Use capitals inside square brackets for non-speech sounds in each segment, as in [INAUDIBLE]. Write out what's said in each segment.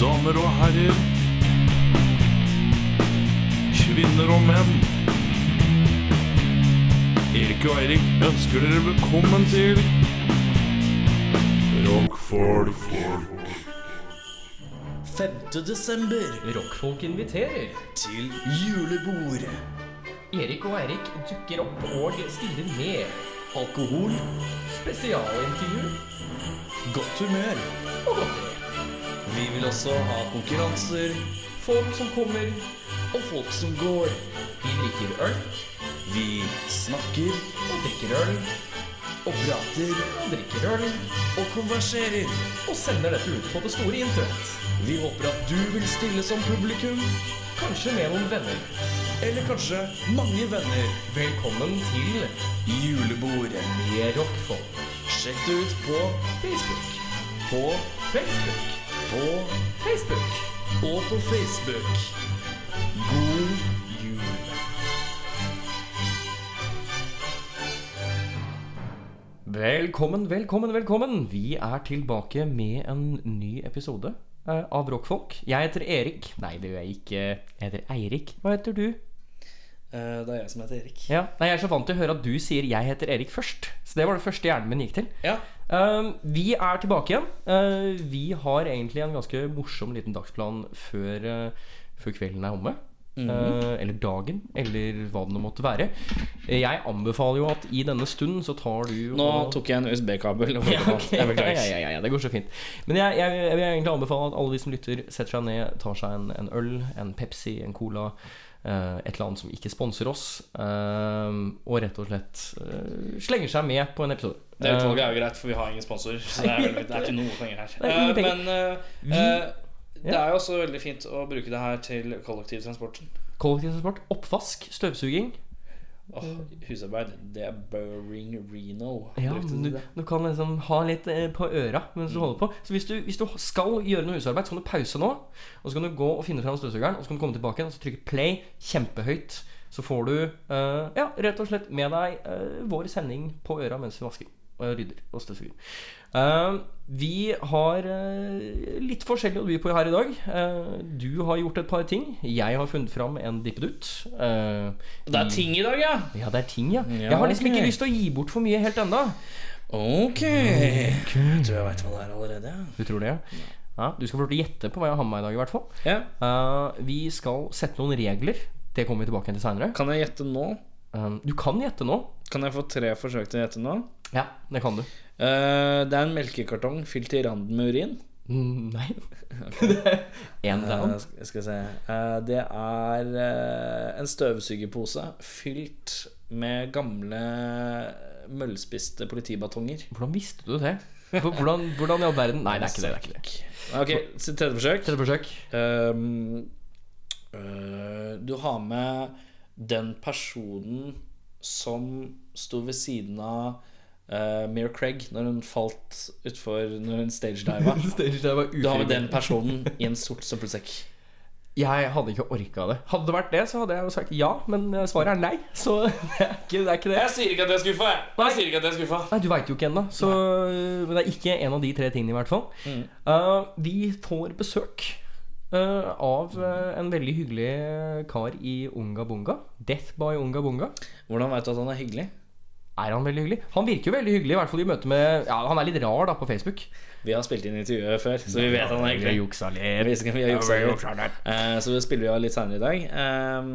damer og herrer. Kvinner og menn. Erik og Eirik ønsker dere velkommen til Rockfolk. 5. desember Rockfolk inviterer. til julebord. Erik og Eirik dukker opp og stiller med. Alkohol, Spesialintervju godt humør. og godteri. Vi vil også ha konkurranser Folk som kommer. og folk som går. Vi drikker øl Vi snakker og drikker øl og prater og drikker øl og konverserer. og sender dette ut på det store internett. Vi håper at du vil stille som publikum, Kanskje med noen venner. eller kanskje mange venner. Velkommen til Julebord. Med Rockfolk. Sjekk det ut på, Facebook. på, Facebook. på Facebook. og på Facebook. God jul. Velkommen, velkommen, velkommen. Vi er tilbake med en ny episode eh, av Rockfolk. Jeg heter Erik. Nei, det gjør jeg ikke. Jeg heter Eirik. Hva heter du? Eh, det er jeg som heter Erik. Ja, nei, Jeg er så vant til å høre at du sier 'jeg heter Erik' først. Så det var det første hjernen min gikk til. Ja. Eh, vi er tilbake igjen. Eh, vi har egentlig en ganske morsom liten dagsplan før, eh, før kvelden er omme. Mhm. Eh, eller dagen, eller hva det nå måtte være. Eh, Jeg anbefaler jo at i denne stund så tar du Nå og tok jeg en [LAUGHS] USB-kabel. og Ja, ok. Jeg beklager. Ja, ja, ja, ja, det går så fint. Men jeg, jeg, jeg vil egentlig anbefale at alle de som lytter, setter seg ned, tar seg en, en øl, en Pepsi, en Cola. eh, et eller annet som ikke sponser oss. eh, og rett og slett eh, slenger seg med på en episode. Det utvalget er jo greit, for vi har ingen sponsorer. Så det er, vel, det er ikke noe penger her. er ingen Eh, penger. Men eh, eh, det er jo også veldig fint å bruke det her til kollektivtransporten. Eh, Kollektivtransport, oppvask, støvsuging. Åh, husarbeid, det er Burring Reno. Ja, Brukte men du du, det? du kan liksom ha litt eh, på øra mens du holder på. Så hvis du, hvis du skal gjøre noe husarbeid, så kan du pause nå. Og så kan du gå og finne fram støvsugeren, og så kan du komme tilbake igjen og så trykke play kjempehøyt. Så får du eh, ja, rett og slett med deg eh, vår sending på øra mens vi vasker og rydder og støvsuger. Eh, vi har eh, litt forskjellig å by på her i dag. Eh, du har gjort et par ting. Jeg har funnet fram en dippedutt. Uh, Det er ting i dag, ja. Ja, det er ting, ja. Ja, Jeg har liksom ikke ok. lyst til å gi bort for mye helt ennå. Ok. Tror jeg veit hva det er allerede. Du tror det? Ja. du skal få lov til å gjette på hva jeg har med meg i dag, i hvert fall. ja. Eh, vi skal sette noen regler. Det kommer vi tilbake til seinere. Kan jeg gjette nå? du kan gjette nå. Kan jeg få tre forsøk til å gjette nå? Ja, det kan du. Eh, det er en melkekartong fylt til randen med urin. Mm, nei. [LAUGHS] En down. Eh, sk- skal vi se Eh, Det er eh, en støvsugerpose fylt med gamle eh, møllspiste politibatonger. Hvordan visste du det? Hvor- Hvordan, hvordan i all verden Nei, det er ikke det. det, er ikke det. Ok, så tredje forsøk. Tredje forsøk. [LAUGHS] Ehm, øh, du har med den personen som sto ved siden av uh, Mira Craig når hun falt utfor Når hun [LAUGHS] stagediva. Stage dive var Du har med ufrivillig. den personen i en sort søppelsekk. Jeg hadde ikke orka det. Hadde det vært det, så hadde jeg jo sagt ja, men eh, svaret er nei. Så [LAUGHS] det er ikke det. Er ikke det. sier ikke at jeg er skuffa, jeg. Jeg sier ikke at jeg er skuffa. Nei, du veit jo ikke ennå. Så men det er ikke en av de tre tingene, i hvert fall. Mm. Eh, vi får besøk eh, av eh, en veldig hyggelig kar i Unga Bunga. Death by Unga Bunga. Hvordan veit du at han er hyggelig? Er han veldig hyggelig? Han virker jo veldig hyggelig, i hvert fall i møte med Ja, han er litt rar, da, på Facebook. Vi har spilt inn intervjuet før, så vi vet han er hyggelig. juksa litt. Jeg visste ikke om vi har juksa litt. litt. Eh, Så det spiller vi av litt seinere i dag. Ehm,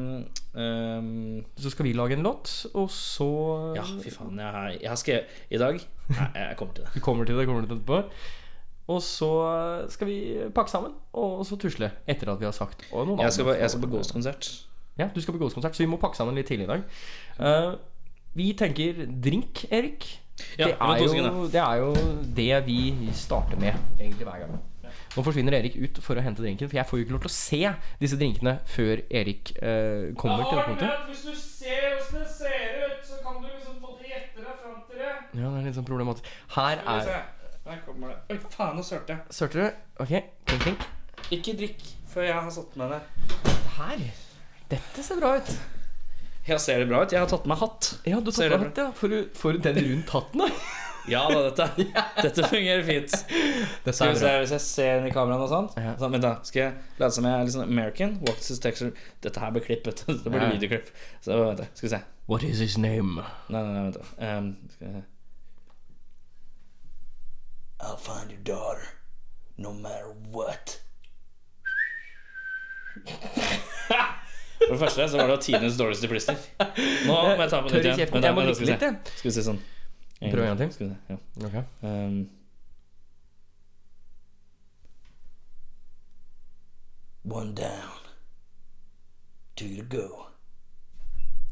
ehm, Så skal vi lage en låt, og så ja, fy faen. Jeg har, jeg har skrevet I dag Nei, jeg kommer til det. Vi kommer til det, kommer til det etterpå. Og så skal vi pakke sammen, og så tusle etter at vi har sagt og noen Jeg skal på, andre jeg skal på får- Ghost-konsert. Ja, du skal på Ghost-konsert, så vi må pakke sammen litt tidlig i dag. Eh, vi tenker drink, Erik. Ja, det, det var er to jo, sekunder. det er jo det vi starter med egentlig hver gang. Nå forsvinner Erik ut for å hente drinken, for jeg får jo ikke lov til å se disse drinkene før Erik eh, kommer til det punktet. Hvis du ser åssen det ser ut, så kan du liksom både gjette deg fram til det. Ja, det er litt sånn problematisk. Her er Der kommer det. Oi, faen, nå sølte jeg. Sørte du? Ok, klink, klink. Ikke drikk før jeg har satt meg ned. Her. Dette ser bra ut. Jeg ser det bra ut. Jeg har tatt på meg hatt. Ja, du Ser tok det hatt, ja. Får du, får du den rundt hatten, da? [LAUGHS] Ja da, dette, dette fungerer fint. Dette Skal er vi se, bra. Hvis jeg ser inn i kameraene og sånt Ja. sånn, Vent da, skal jeg late som jeg er litt sånn American? Walks his texture Dette her blir klippet. [LAUGHS] Det blir Ja. videoklipp. Så vent da, skal vi se. What is his name? Nei, nei, nei, vent da. Ehm, skal jeg... I'll find your daughter No matter what For det første så var det jo tidenes dårligste plister. Nå må jeg ta på Tørr nytt i igjen. kjeften, Vent da, jeg må vent da, skal vi drikke se. litt, Skal vi se sånn. Prøv en gang til. Skal vi se, ja. Ok. Um, One down, two to go.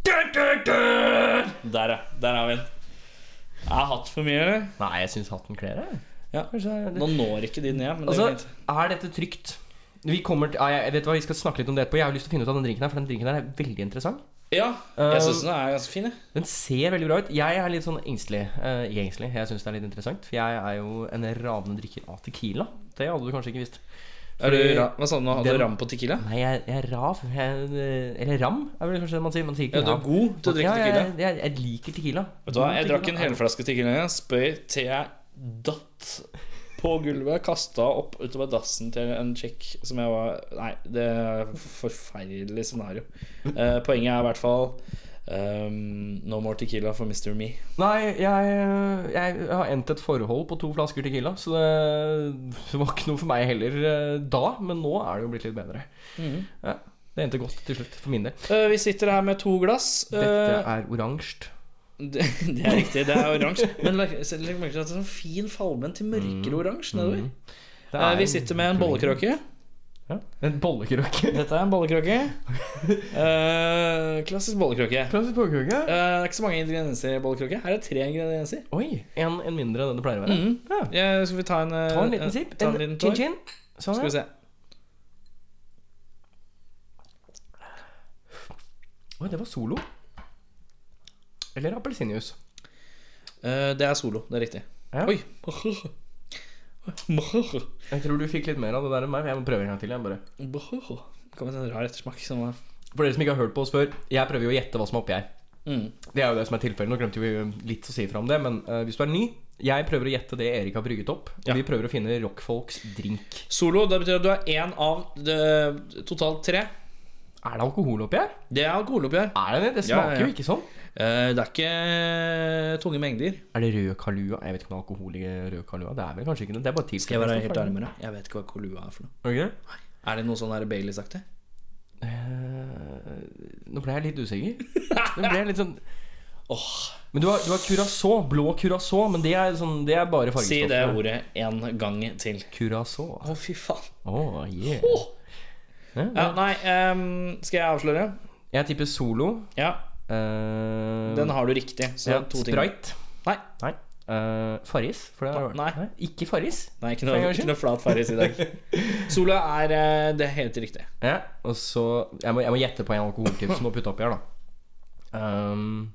Der, ja. Der har vi den. Jeg har hatt for mye. eller? Nei, jeg syns hatten kler deg. Ja. Nå når ikke de ned, men det Altså, er greit. er dette trygt? Vi kommer til, ja, jeg vet hva, vi skal snakke litt om det etterpå. Jeg har lyst til å finne ut av den drinken her, for den drinken her er veldig interessant. Ja, eh, jeg syns den er ganske fin, jeg. Den ser veldig bra ut. Jeg er litt sånn engstelig. eh, ikke engstelig. Jeg syns det er litt interessant. For jeg er jo en ravende drikker av Tequila. Det hadde du kanskje ikke visst. Er du, fordi- ra- hva sa du nå? Hadde den- du ram på tequila? Nei, jeg, jeg er rav. Jeg, eller ram, er vel kanskje det man sier. Man sier ikke Ja, du er rav. god til å drikke tequila. Ja, jeg, jeg, jeg liker tequila. Vet du hva, jeg Tequila drakk en er- hel flaske tequila, jeg spøy til jeg datt på gulvet, kasta opp utover dassen til en chick som jeg var Nei, det er et forferdelig scenario. Eh, poenget er i hvert fall ehm, No more tequila for Mr. Me. Nei, jeg, jeg har endt et forhold på to flasker tequila, så det, det var ikke noe for meg heller eh, da. Men nå er det jo blitt litt bedre. Ja, det endte godt til slutt, for min del. Eh, vi sitter her med to glass. Eh, Dette er oransje. [LAUGHS] det, det er riktig, det er oransje. Men legg legg merke til at det er sånn fin falmen til mørkere oransje nedover. Mm. Det Eh, er vi sitter med en bollekråke. Ja, en bollekråke. Dette er en bollekråke. Eh, klassisk bollekråke. Klassisk bollekråke. Eh, det er ikke så mange ingredienser i bollekråke. Her er tre ingredienser. Oi, en, en mindre enn det det pleier å være. Mm. Ja. Ja, skal vi ta en eh, Ta en eh, liten sipp. ta en En liten tår? Chin-chin. Sånn, Skal vi se. ja. Oi, det var solo. Eller appelsinjuice. Eh, det er solo. Det er riktig. Ja. Oi. [LAUGHS] Det Jeg tror du fikk litt mer av det der enn meg, men jeg må prøve en gang til. Jeg bare. kom en sånn rar ettersmak. Som var... For dere som ikke har hørt på oss før, jeg prøver jo å gjette hva som er oppi her. mm. Det er jo det som er tilfellet. Nå glemte vi litt å si fra om det, men eh, hvis du er ny Jeg prøver å gjette det Erik har brygget opp. Og Ja. vi prøver å finne rockfolks drink. Solo, det betyr at du er én av eh, totalt tre. Er det alkohol oppi her? Det er alkoholoppgjør. Er det det? Det Ja, ja, smaker ja. jo ikke sånn. Eh, det er ikke eh, tunge mengder. Er det rød kalua? Jeg vet ikke om det er alkohol i rød kalua. Det er vel kanskje ikke det. Det er bare tilsatt Skal jeg være stoff, helt er det? ærlig med deg? Jeg vet ikke hva kolua er for noe. Er det ikke det? Er det noe sånn der Baileys-aktig? Eh, nå ble jeg litt usikker. Nå ble jeg litt sånn Åh, Men du har, du har curacao. Blå curacao, men det er, sånn, det er bare fargestoff. si det ordet en gang til. Curacao. Å, fy faen. Åh, yeah. Åh. Ja, Ja, nei, ehm, skal jeg avsløre? Jeg tipper solo. Ja, Eh, den har du riktig. Så ja, to ting. Sprite. Nei, Nei. Eh, Farris? For det har Nei. Ikke Farris? nei ikke, For noe, en gangs ikke skyld. noe flat farris i [LAUGHS] dag. Sola er eh, det er helt riktig. Ja, og så Jeg må, jeg må gjette på en alkoholtype som må putte oppi her, da. Ehm,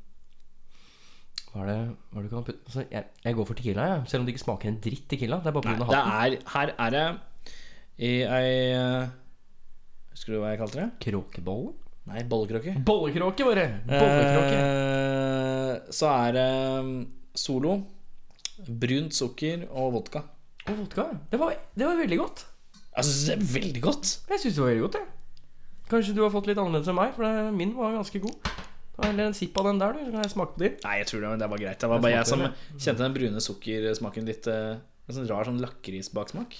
hva er det Hva er det du kan putte altså, jeg, jeg går for Tequila, jeg. Selv om det ikke smaker en dritt Tequila. Det er bare Nei, pga. det hatten. er, her er det i ei eh, Husker du hva jeg kalte det? Kråkebolle? Nei, bollekråke. Bollekråke, bare! Bollekråke. Eh, så er det mm, Solo, brunt sukker og vodka. Altså, Og vodka. Det var, det var veldig godt. Jeg syns det er veldig godt. Jeg syns det var veldig godt, jeg. Kanskje du har fått litt annerledes enn meg, for det- min var ganske god. Ta heller en sipp av den der, du. Så kan jeg smake på din. Nei, jeg tror det, det var greit. Det var bare jeg som smakte kjente den brune sukkersmaken litt eh, En sånn rar sånn lakrisbaksmak.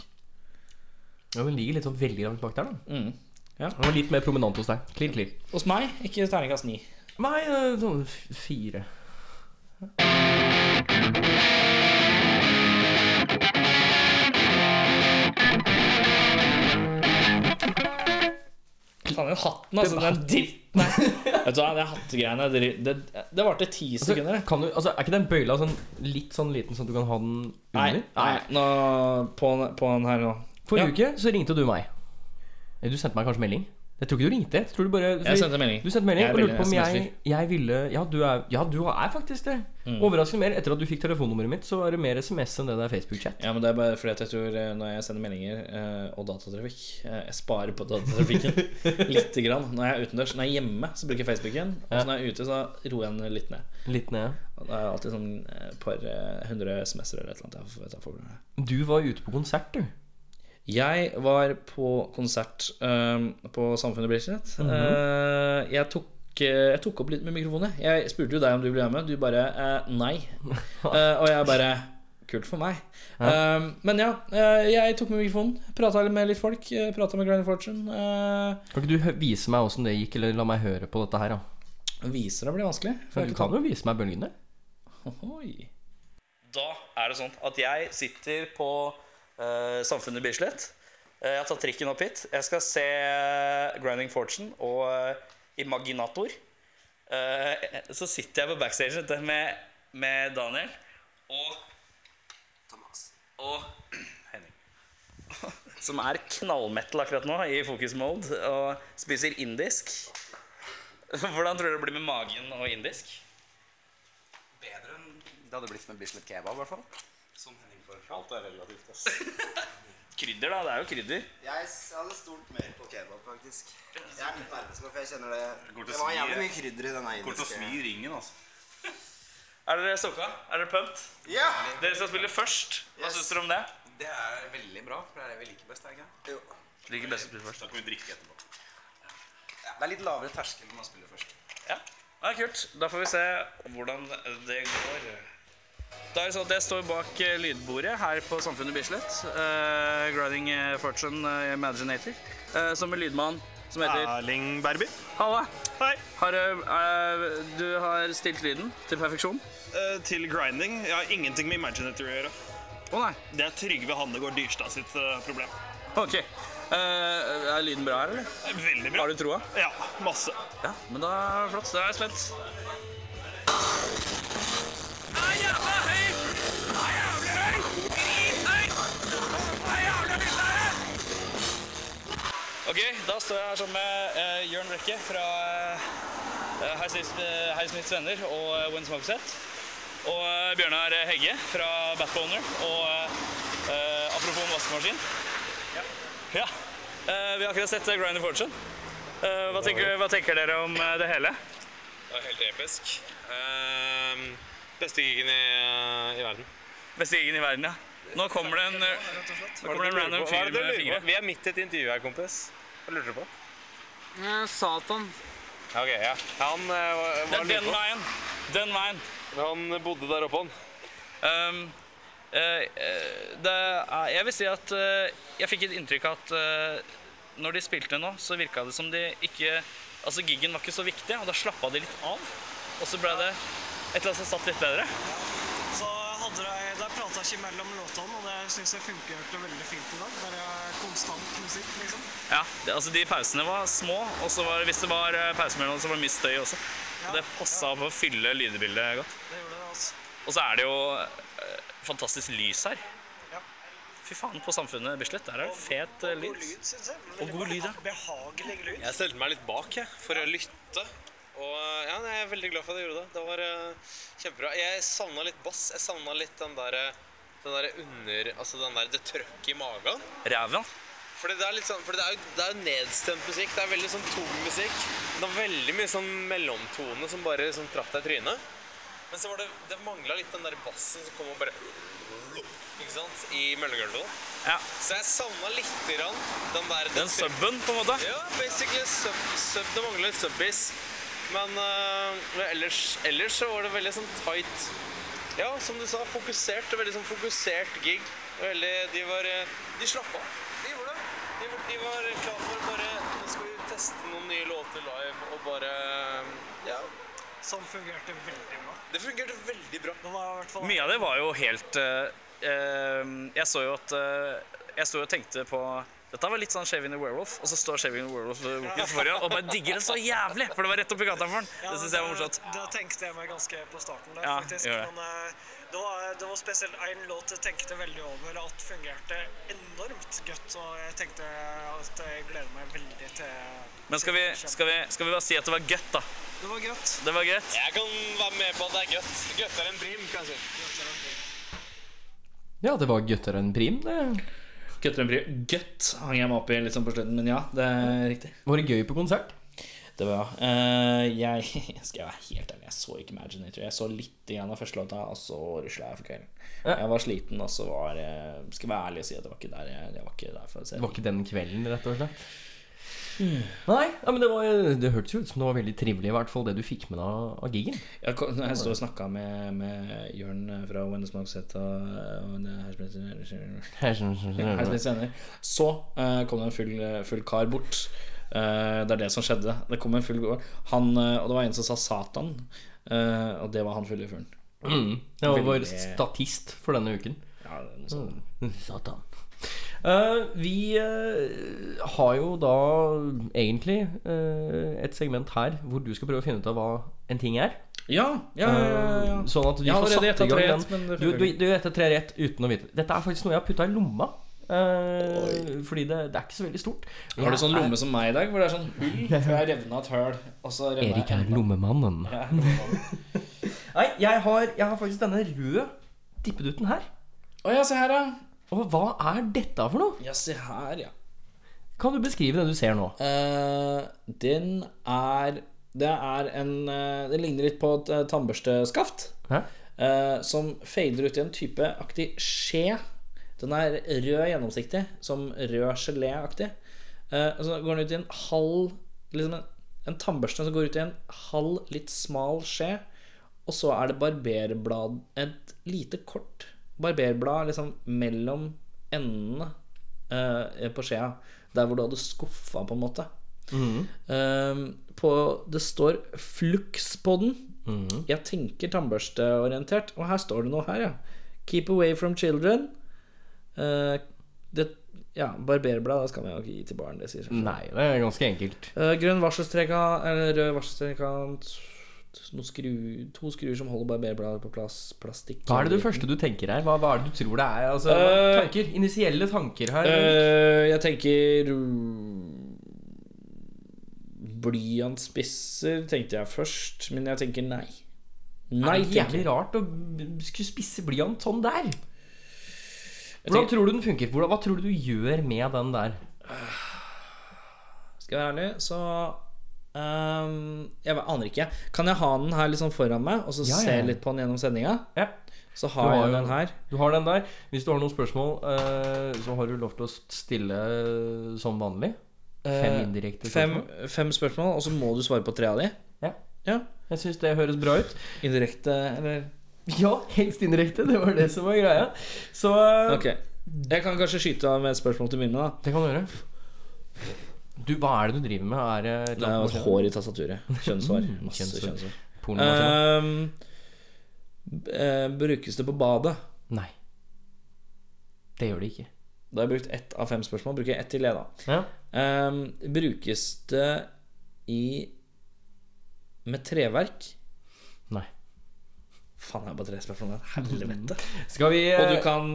Ja, Den ligger litt sånn veldig langt bak der, da. Mm. Den var litt mer prominent hos deg. Klirr, klirr. Hos meg ikke terningkast ni. Nei, eh, sånn f- fire. Faen, den hatten, altså. Den dritten her. [LAUGHS] Vet du hva, det hattegreiene Det, det, det varte ti sekunder. det. Kan du, altså, er ikke den bøyla sånn, litt sånn liten, sånn at du kan ha den Nei, under? nei nå, på, den- på den her nå. Forrige Ja. uke så ringte du meg. Eh, Du sendte meg kanskje melding? Jeg tror ikke du ringte. Jeg tror du bare Jeg sendte melding. Du sendte melding Jeg er og lurte veldig på om jeg, SMS-fyr. jeg ville Ja, du er, ja, du er faktisk det. Mm. Overraskende mer. Etter at du fikk telefonnummeret mitt, så er det mer SMS enn det der Facebook-chat. Ja, men det er bare fordi at jeg tror eh, når jeg sender meldinger eh, og datatrafikk eh, Jeg sparer på datatrafikken lite grann. Når jeg er utendørs. Når jeg er hjemme, så bruker jeg Facebooken. Og Ja. så når jeg er ute, så roer jeg den litt ned. Litt ned. Og Det er alltid sånn eh, par eh, hundre SMS-er eller et eller annet. Jeg, vet, jeg, får med meg. Du var ute på konsert, du. jeg var på konsert eh, på Samfunnet Bislett. Eh, jeg tok eh, jeg tok opp litt med mikrofonen. jeg. Jeg spurte jo deg om du ville være med. Du bare eh, nei. Eh, og jeg bare Kult for meg. Eh, men ja, eh, jeg tok med mikrofonen. Prata med litt folk. Uh, Prata med Granny Fortune. eh, Kan ikke du hø- vise meg åssen det gikk, eller la meg høre på dette her, da? viser det blir vanskelig. For Men jeg har Du ikke kan jo vise meg bølgene. Ohoi. Da er det sånn at jeg sitter på eh, Samfunnet Bislett. Eh, jeg har tatt trikken opp hit. Jeg skal se eh, Grinding Fortune og eh, Imaginator. Eh, så sitter jeg på backstage vet du, med, med Daniel og Thomas og [CLEARS THROAT] Henning. [LAUGHS] Som er knallmetal akkurat nå, i fokus-mode, og spiser indisk. [LAUGHS] Hvordan tror du det blir med magen og indisk? bedre enn det hadde blitt med Bislett kebab, i hvert fall. Som Henning Alt er relativt, ass. Krydder, da. Det er jo krydder. Jeg s- hadde stolt mer på kebab, faktisk. Jeg er litt nervøs nå, for jeg kjenner Går det til Det var å smi, jævlig det. mye krydder i denne Går til å indiske smi i ringen, altså. Er dere stokka? Er dere pumped? Ja! Dere skal spille først. Hva Yes. syns dere om det? Det er veldig bra, for det er det vi liker best, er det ikke? det? Jo. Liker best å spille først. Da kan vi drikke etterpå. Det er litt lavere terskel når man spiller først. Ja, det er kult. Da får vi se hvordan det går. Da er det sånn at Jeg står bak eh, lydbordet her på Samfunnet Bislett. eh, Grinding eh, Fortune eh, Imaginator. eh, som en lydmann som heter Erling Berby. Halla. Ah. Hei. Har, eh, eh, du har stilt lyden til perfeksjon. Eh, til grinding. Jeg har ingenting med Imaginator å gjøre. Å nei. Det er Trygve Hannegård Dyrstad sitt eh, problem. Ok. Eh, er lyden bra her, eller? Eh, Veldig bra. Har du troa? Ja, masse. Ja, men da er det flott. Da er jeg spent. Ok, da står jeg her sammen med eh, Jørn Brekke fra eh, Hei Smiths- eh, Hei Smiths venner og eh, Wins Mogseth. Og eh, Bjørnar Hegge fra Batboner og eh, eh, apropos en vaskemaskin. Ja. Eh, vi har akkurat sett eh, Grind of Fortune. Eh, hva, tenker, hva tenker dere om eh, det hele? Det var helt episk. Ehm, beste gigen i, eh, i verden. Bestigen i verden, ja. Nå kommer det en, eh, nå kommer det en random fyr med fingre. Vi er midt i et intervju her, kompis. Hva lurer du på? Satan. Ok, ja. Han, eh, var, Det var er den veien. Den veien. han bodde der oppe, han. Ehm, eh, eh, det er, jeg vil si at eh, jeg fikk et inntrykk av at eh, når de spilte nå, så virka det som de ikke Altså, giggen var ikke så viktig, og da slappa de litt av. Og så ble det et eller annet som satt litt bedre. Så hadde de, de prata ikke mellom låtene, og det syns jeg funkerte veldig fint i dag. Bare konstant musikk, liksom. Ja, det, altså De pausene var små, og så var, hvis det var eh, pause mellom, så var det mye støy også. Og det passa på å fylle lydbildet godt. Det gjorde det, altså. Og så er det jo eh, fantastisk lys her. Ja. Fy faen, på Samfunnet Bislett, der er det fet eh, lys. syns jeg. Og god lyd, ja. Behagelig lyd. Jeg stelte meg litt bak jeg, for å lytte. Og eh, ja, nei, jeg er veldig glad for at jeg gjorde det. Det var eh, kjempebra. Jeg savna litt bass. Jeg savna litt den derre den der under Altså den der, det trøkket i magen. Ræven. Fordi det er litt sånn, fordi det er, jo- det er jo nedstemt musikk. Det er veldig sånn tung musikk. Det var veldig mye sånn mellomtone som bare sånn traff deg i trynet. Men så var det, det mangla litt den der bassen som kom og bare Ikke sant? I møllegulvet. Ja. Så jeg savna lite grann den der Den subben, på en måte. Ja, basically sub, sub Det mangler litt subbies. Men eh, ellers, ellers så var det veldig sånn tight Ja, som du sa, fokusert. Veldig sånn fokusert gig. Veldig, de var eh, De slappa av. De gjorde det. De, var- de var klar for å bare Nå skal vi teste noen nye låter live og bare Ja. Som fungerte veldig bra. Det fungerte veldig bra. Det var i hvert fall Mye av det var jo helt eh, eh, Jeg så jo at eh, Jeg sto jo og tenkte på dette var litt sånn Shaving the Werewolf, og så står Shaving the Werewolf boken foran og bare digger det så jævlig! For det var rett oppi gata for den. Ja, Det synes jeg var morsomt. Da tenkte jeg meg ganske på starten der, Ja, faktisk. gjør det. Men eh, Det var, det var spesielt en låt jeg tenkte veldig over at fungerte enormt godt. Og jeg tenkte at jeg gleder meg veldig til Men skal vi, skal, vi, skal vi bare si at det var gøtt, da? Det var godt. Det var greit. Jeg kan være med på at det er gøtt. Gøttere enn brim, kan jeg si. Ja, det var guttere enn prim, det. Gutter en bry. Gutt hang jeg meg opp i litt sånn på slutten, men ja, det er riktig. Var det gøy på konsert? Det var ja. Eh, jeg, [LAUGHS] jeg skal være helt ærlig, jeg så ikke Imaginator. Jeg så litt igjen av første låta, og så rusla jeg for kvelden. Ja. Jeg var sliten, og så var eh, Skal være ærlig og si at det var ikke der jeg, jeg var ikke der for å se. Det var ikke den kvelden, rett og slett. Hmm. Nei, ja, men det, var, det hørtes jo ut som det var veldig trivelig, i hvert fall det du fikk med deg av- av gigen. Jeg, kom- jeg stod og snakka med, med Jørn fra When the Smoke Set og, og det her spiller- Her spiser senere. Så eh, kom det en full, full kar bort. Eh, det er det som skjedde. Det kom en full han, eh, Og det var en som sa Satan. eh, og det var han fulle fyren. [LAUGHS] Mm. Jeg var vår Veldig- statist for denne uken. Ja, det er liksom- noe Mm. sånt. Satan. Eh, vi eh, har jo da egentlig eh, et segment her hvor du skal prøve å finne ut av hva en ting er. ja, ja, ja, ja. Sånn at vi Jeg har allerede får satt i gjettet gang tre den. rett, men det Du, funker du, du gjetter tre rett uten å vite Dette er faktisk noe jeg har putta i lomma. eh, fordi det, det er ikke så veldig stort. Har du Jeg sånn er- lomme som meg i dag, hvor det er sånn hull? [LAUGHS] For jeg revna et høl. Og så revna Erik jeg er lommemannen. Nei, jeg har, jeg har faktisk denne røde tippedutten her. Å ja, se her, ja. Og hva er dette for noe? Ja, se her, ja. Kan du beskrive det du ser nå? Eh, den er Det er en eh, Det ligner litt på et eh, tannbørsteskaft. Hæ? eh, som fader ut i en type aktig skje. Den er rød gjennomsiktig, som rød geléaktig. Eh, og så går den ut i en halv Liksom en, en tannbørste som går ut i en halv, litt smal skje. Og så er det barberblad Et lite kort barberblad liksom mellom endene eh, på skjea. Der hvor du hadde skuffa, på en måte. Mhm. Eh, på, det står flux på den. Mhm. Jeg tenker tannbørsteorientert. Og her står det noe her, ja. Keep away from children. Eh, det, ja, barberblad det skal man jo ikke gi til barn. Det sier seg selv. Nei, det er ganske enkelt. Eh, grønn varselstrekant Eller rød varselstrekant noen skru, To skruer som holder barberbladet på plass Plastikk Hva er det du første du tenker her? Hva, hva er det du tror det er? Altså, Øh. tanker, Initielle tanker her. Eh, Jeg tenker mm, Blyantspisser tenkte jeg først Men jeg tenker nei Nei, er det tenker jævlig jeg. rart å b- skulle spisse blyant sånn der? Hvordan tror du den funker? Hvordan, hva tror du du gjør med den der? Skal jeg være ærlig, så ehm, Jeg aner ikke Kan jeg ha den her litt sånn foran meg Og så Ja, ja, se ja. litt på den gjennom sendinga Ja. Så Du har, har jeg jo- den her Du har den der. Hvis du har noen spørsmål, eh, så har du lov til å stille eh, som vanlig. Fem Eh, indirekte fem, spørsmål. fem spørsmål Og så må du svare på tre av de Ja. Ja Jeg syns det høres bra ut. Indirekte, eller [LAUGHS] Ja, helst indirekte. Det var det som var greia. Så eh, Ok. Jeg kan kanskje skyte av med et spørsmål til Myrne, da. det kan du gjøre. Du, hva er det du driver med? Er det et Det er jo et hår i tastaturet. Kjønnshår. [LAUGHS] Masse kjønnshår. kjønnshår. pornomaskin? Ehm, b- eh, brukes det på badet? Nei. Det gjør det ikke. Da har jeg brukt ett av fem spørsmål. Bruker jeg ett til, jeg, da. Ja. Ehm, brukes det i med treverk? Nei. Faen, jeg har bare tre spørsmål igjen. Mm. Helvete. Skal vi Og du eh, kan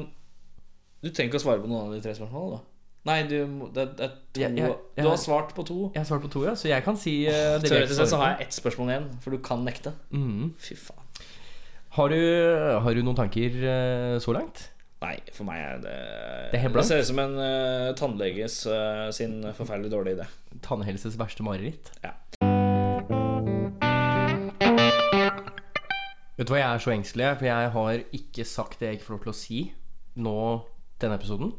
Du trenger ikke å svare på noen av de tre spørsmålene, da. Nei, du, må- det, det er to Jeg- jeg- Du jeg har- har svart på to. Jeg har svart på to, ja, så jeg kan si eh, direkte Teoretisk sett så svar. har jeg ett spørsmål igjen, for du kan nekte. Mhm. Fy faen. Har du, har du noen tanker eh, så langt? Nei, for meg er det Det er helt blankt. ser ut som en eh, tannleges eh, sin forferdelig dårlige idé. Tannhelses verste mareritt? Ja. Vet du hva, jeg er så engstelig, for jeg har ikke sagt det jeg ikke får lov til å si nå denne episoden.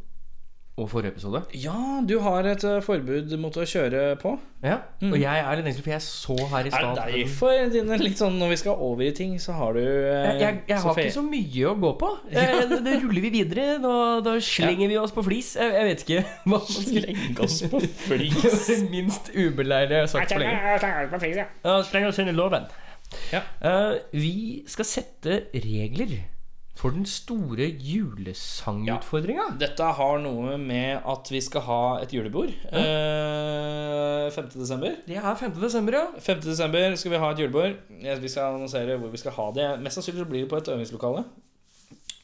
Og forrige episode. Ja, du har et eh, forbud mot å kjøre på. Ja, Og jeg er litt engstelig, for jeg så her Mm. Er i stad det derfor dine [LAUGHS] litt sånn når vi skal over i ting, så har du eh, Jeg, jeg, jeg har fe- ikke så mye å gå [LAUGHS] på. Eh, det- det ruller vi videre. Da, da slenger vi oss på flis. Jeg, jeg vet ikke [LAUGHS] hva man skulle Legg oss [LAUGHS] på Det flis. var det minst ubeleilige jeg har sagt på lenge. Ja, Sleng oss inn i loven. Ja. Eh, vi skal sette regler for den store julesangutfordringa. Dette har noe med at vi skal ha et julebord. eh, 5. desember. Det er 5. desember, ja. 5. desember skal vi ha et julebord. Vi skal annonsere hvor vi skal ha det. Mest sannsynlig så blir det på et øvingslokale.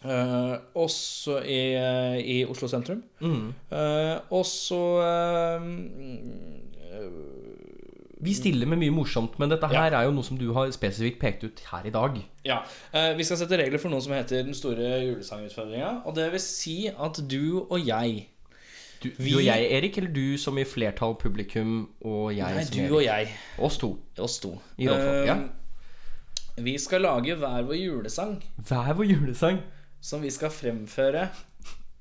Eh, også i, eh, i Oslo sentrum. Mm. Eh, og så Vi stiller med mye morsomt, men dette her er jo noe som du har spesifikt pekt ut her i dag. Ja. eh, vi skal sette regler for noe som heter Den store julesangutfordringa. Og det vil si at du og jeg Du, du og jeg, Erik, eller du som i flertall publikum og jeg Nei, som du Erik? og jeg. Oss to. Oss to. I alle fall, ja. Eh, Vi skal lage hver vår julesang. Hver vår julesang? Som vi skal fremføre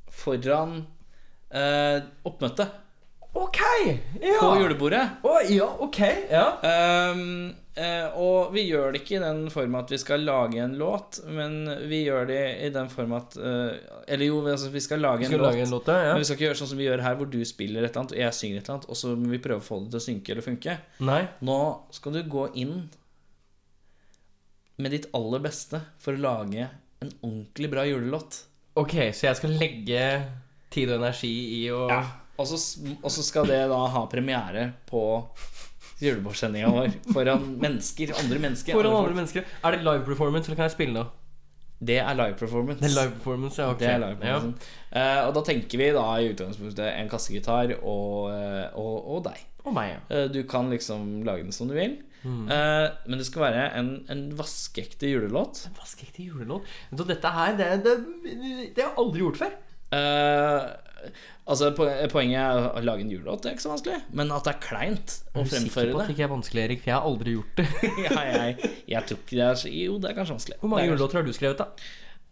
foran eh, oppmøtet. Ok! Ja. På julebordet. ja, ok. Ja. Ehm, eh, og vi gjør det ikke i den form at vi skal lage en låt, men vi gjør det i den form at eh, Eller jo, vi- altså, vi skal lage, Vi skal en, lage låt, en låt, ja, ja. men vi skal ikke gjøre sånn som vi gjør her, hvor du spiller et eller annet, og jeg synger et eller annet, og så må vi prøve å få det til å synke eller funke. Nei. Nå skal du gå inn med ditt aller beste for å lage en ordentlig bra julelåt. Ok, så jeg skal legge tid og energi i å Ja. Og så, og så skal det da ha premiere på julebordsendinga vår foran mennesker. Andre mennesker. Foran folk. andre mennesker. Er det live performance, eller kan jeg spille nå? Det er live performance. Det er live performance, ja. ok. Det er live performance. Eh, og da tenker vi da i utgangspunktet en kassegitar og, eh, og, og deg. Og meg, Eh, du kan liksom lage den som du vil. Mm. Eh, men det skal være en, en vaskeekte julelåt. ja. Hva skal jeg til julelåt? Så dette her, det, det, det har jeg aldri gjort før. Eh, altså po- Poenget er å lage en julelåt, det er ikke så vanskelig. Men at det er kleint å Jeg er sikker fremføre på at det. det ikke er vanskelig, Erik, for jeg har aldri gjort det. [LAUGHS] ja, jeg, jeg tror ikke det er så Jo, det er kanskje Eh, vanskelig. [LAUGHS] Hvor mange julelåter har du skrevet, da?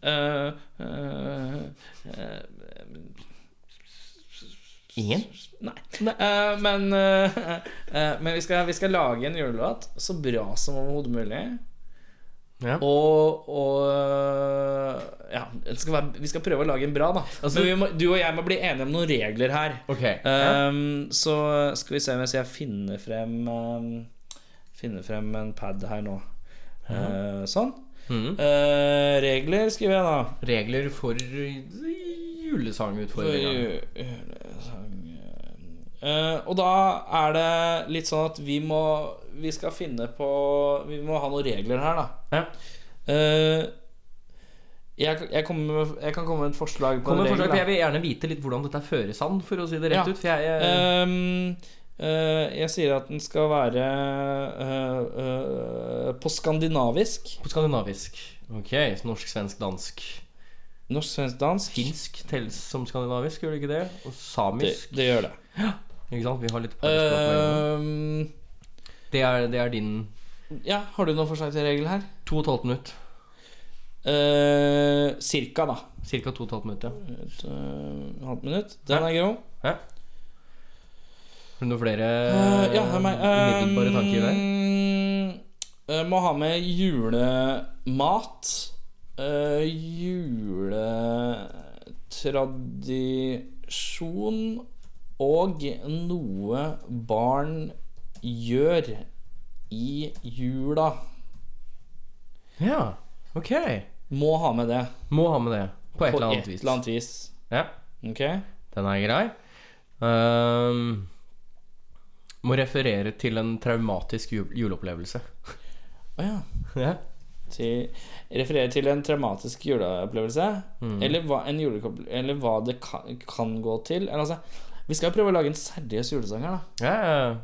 eh, Ingen? Nei. Eh, men, eh, eh, men vi, skal, vi skal lage en julelåt så bra som overhodet mulig. Ja. Og, og eh, ja, det skal være, vi skal prøve å lage en bra, da. Altså- men vi må, du og jeg må bli enige om noen regler her. Ok. Ehm, så skal vi se mens jeg finner frem ehm, Finner frem en pad her nå. Eh, sånn. Mhm. Eh, regler skriver jeg da. Regler for eh, julesangutfordringa. Eh, og da er det litt sånn at vi må Vi skal finne på Vi må ha noen regler her, da. Eh, jeg, jeg, kommer med, jeg kan komme med et forslag på Kom med en forslag, regel. for da. jeg vil gjerne vite litt hvordan dette føres an, for å si det Ja. rett ut. For jeg, jeg Ehm, eh, jeg sier at den skal være eh, eh, på skandinavisk. På skandinavisk. Ok, så norsk, svensk, dansk. Norsk, svensk, dansk. Finsk telles som skandinavisk, gjør det ikke det? Og samisk. Det, det gjør det. Eh, Ikke sant? Vi har litt parspråk mellom. Ehm, det, er, det er din ja, har du noen forslag til regel her? to og et halvt minutt. Eh, cirka, da. Cirka to og et halvt minutt, ja. Et eh, halvt minutt. Den er grov. Har du noen flere Eh, ja, det er meg. Ehm, umiddelbare tanker der? eh, må ha med julemat. eh, juletradisjon og noe barn gjør i jula. Ja, ok. Må ha med det. Må ha med det. På et På eller annet vis. eller annet vis. Ja, Ok? den er grei. Ehm, må referere til en traumatisk jul juleopplevelse. [LAUGHS] Å ja. Ja. til, refererer til en traumatisk juleopplevelse. Eller, hva, en julekopp- eller hva det kan, kan gå til. Eller, altså, vi skal jo prøve å lage en seriøs julesang her, da. Ja, ja, ja.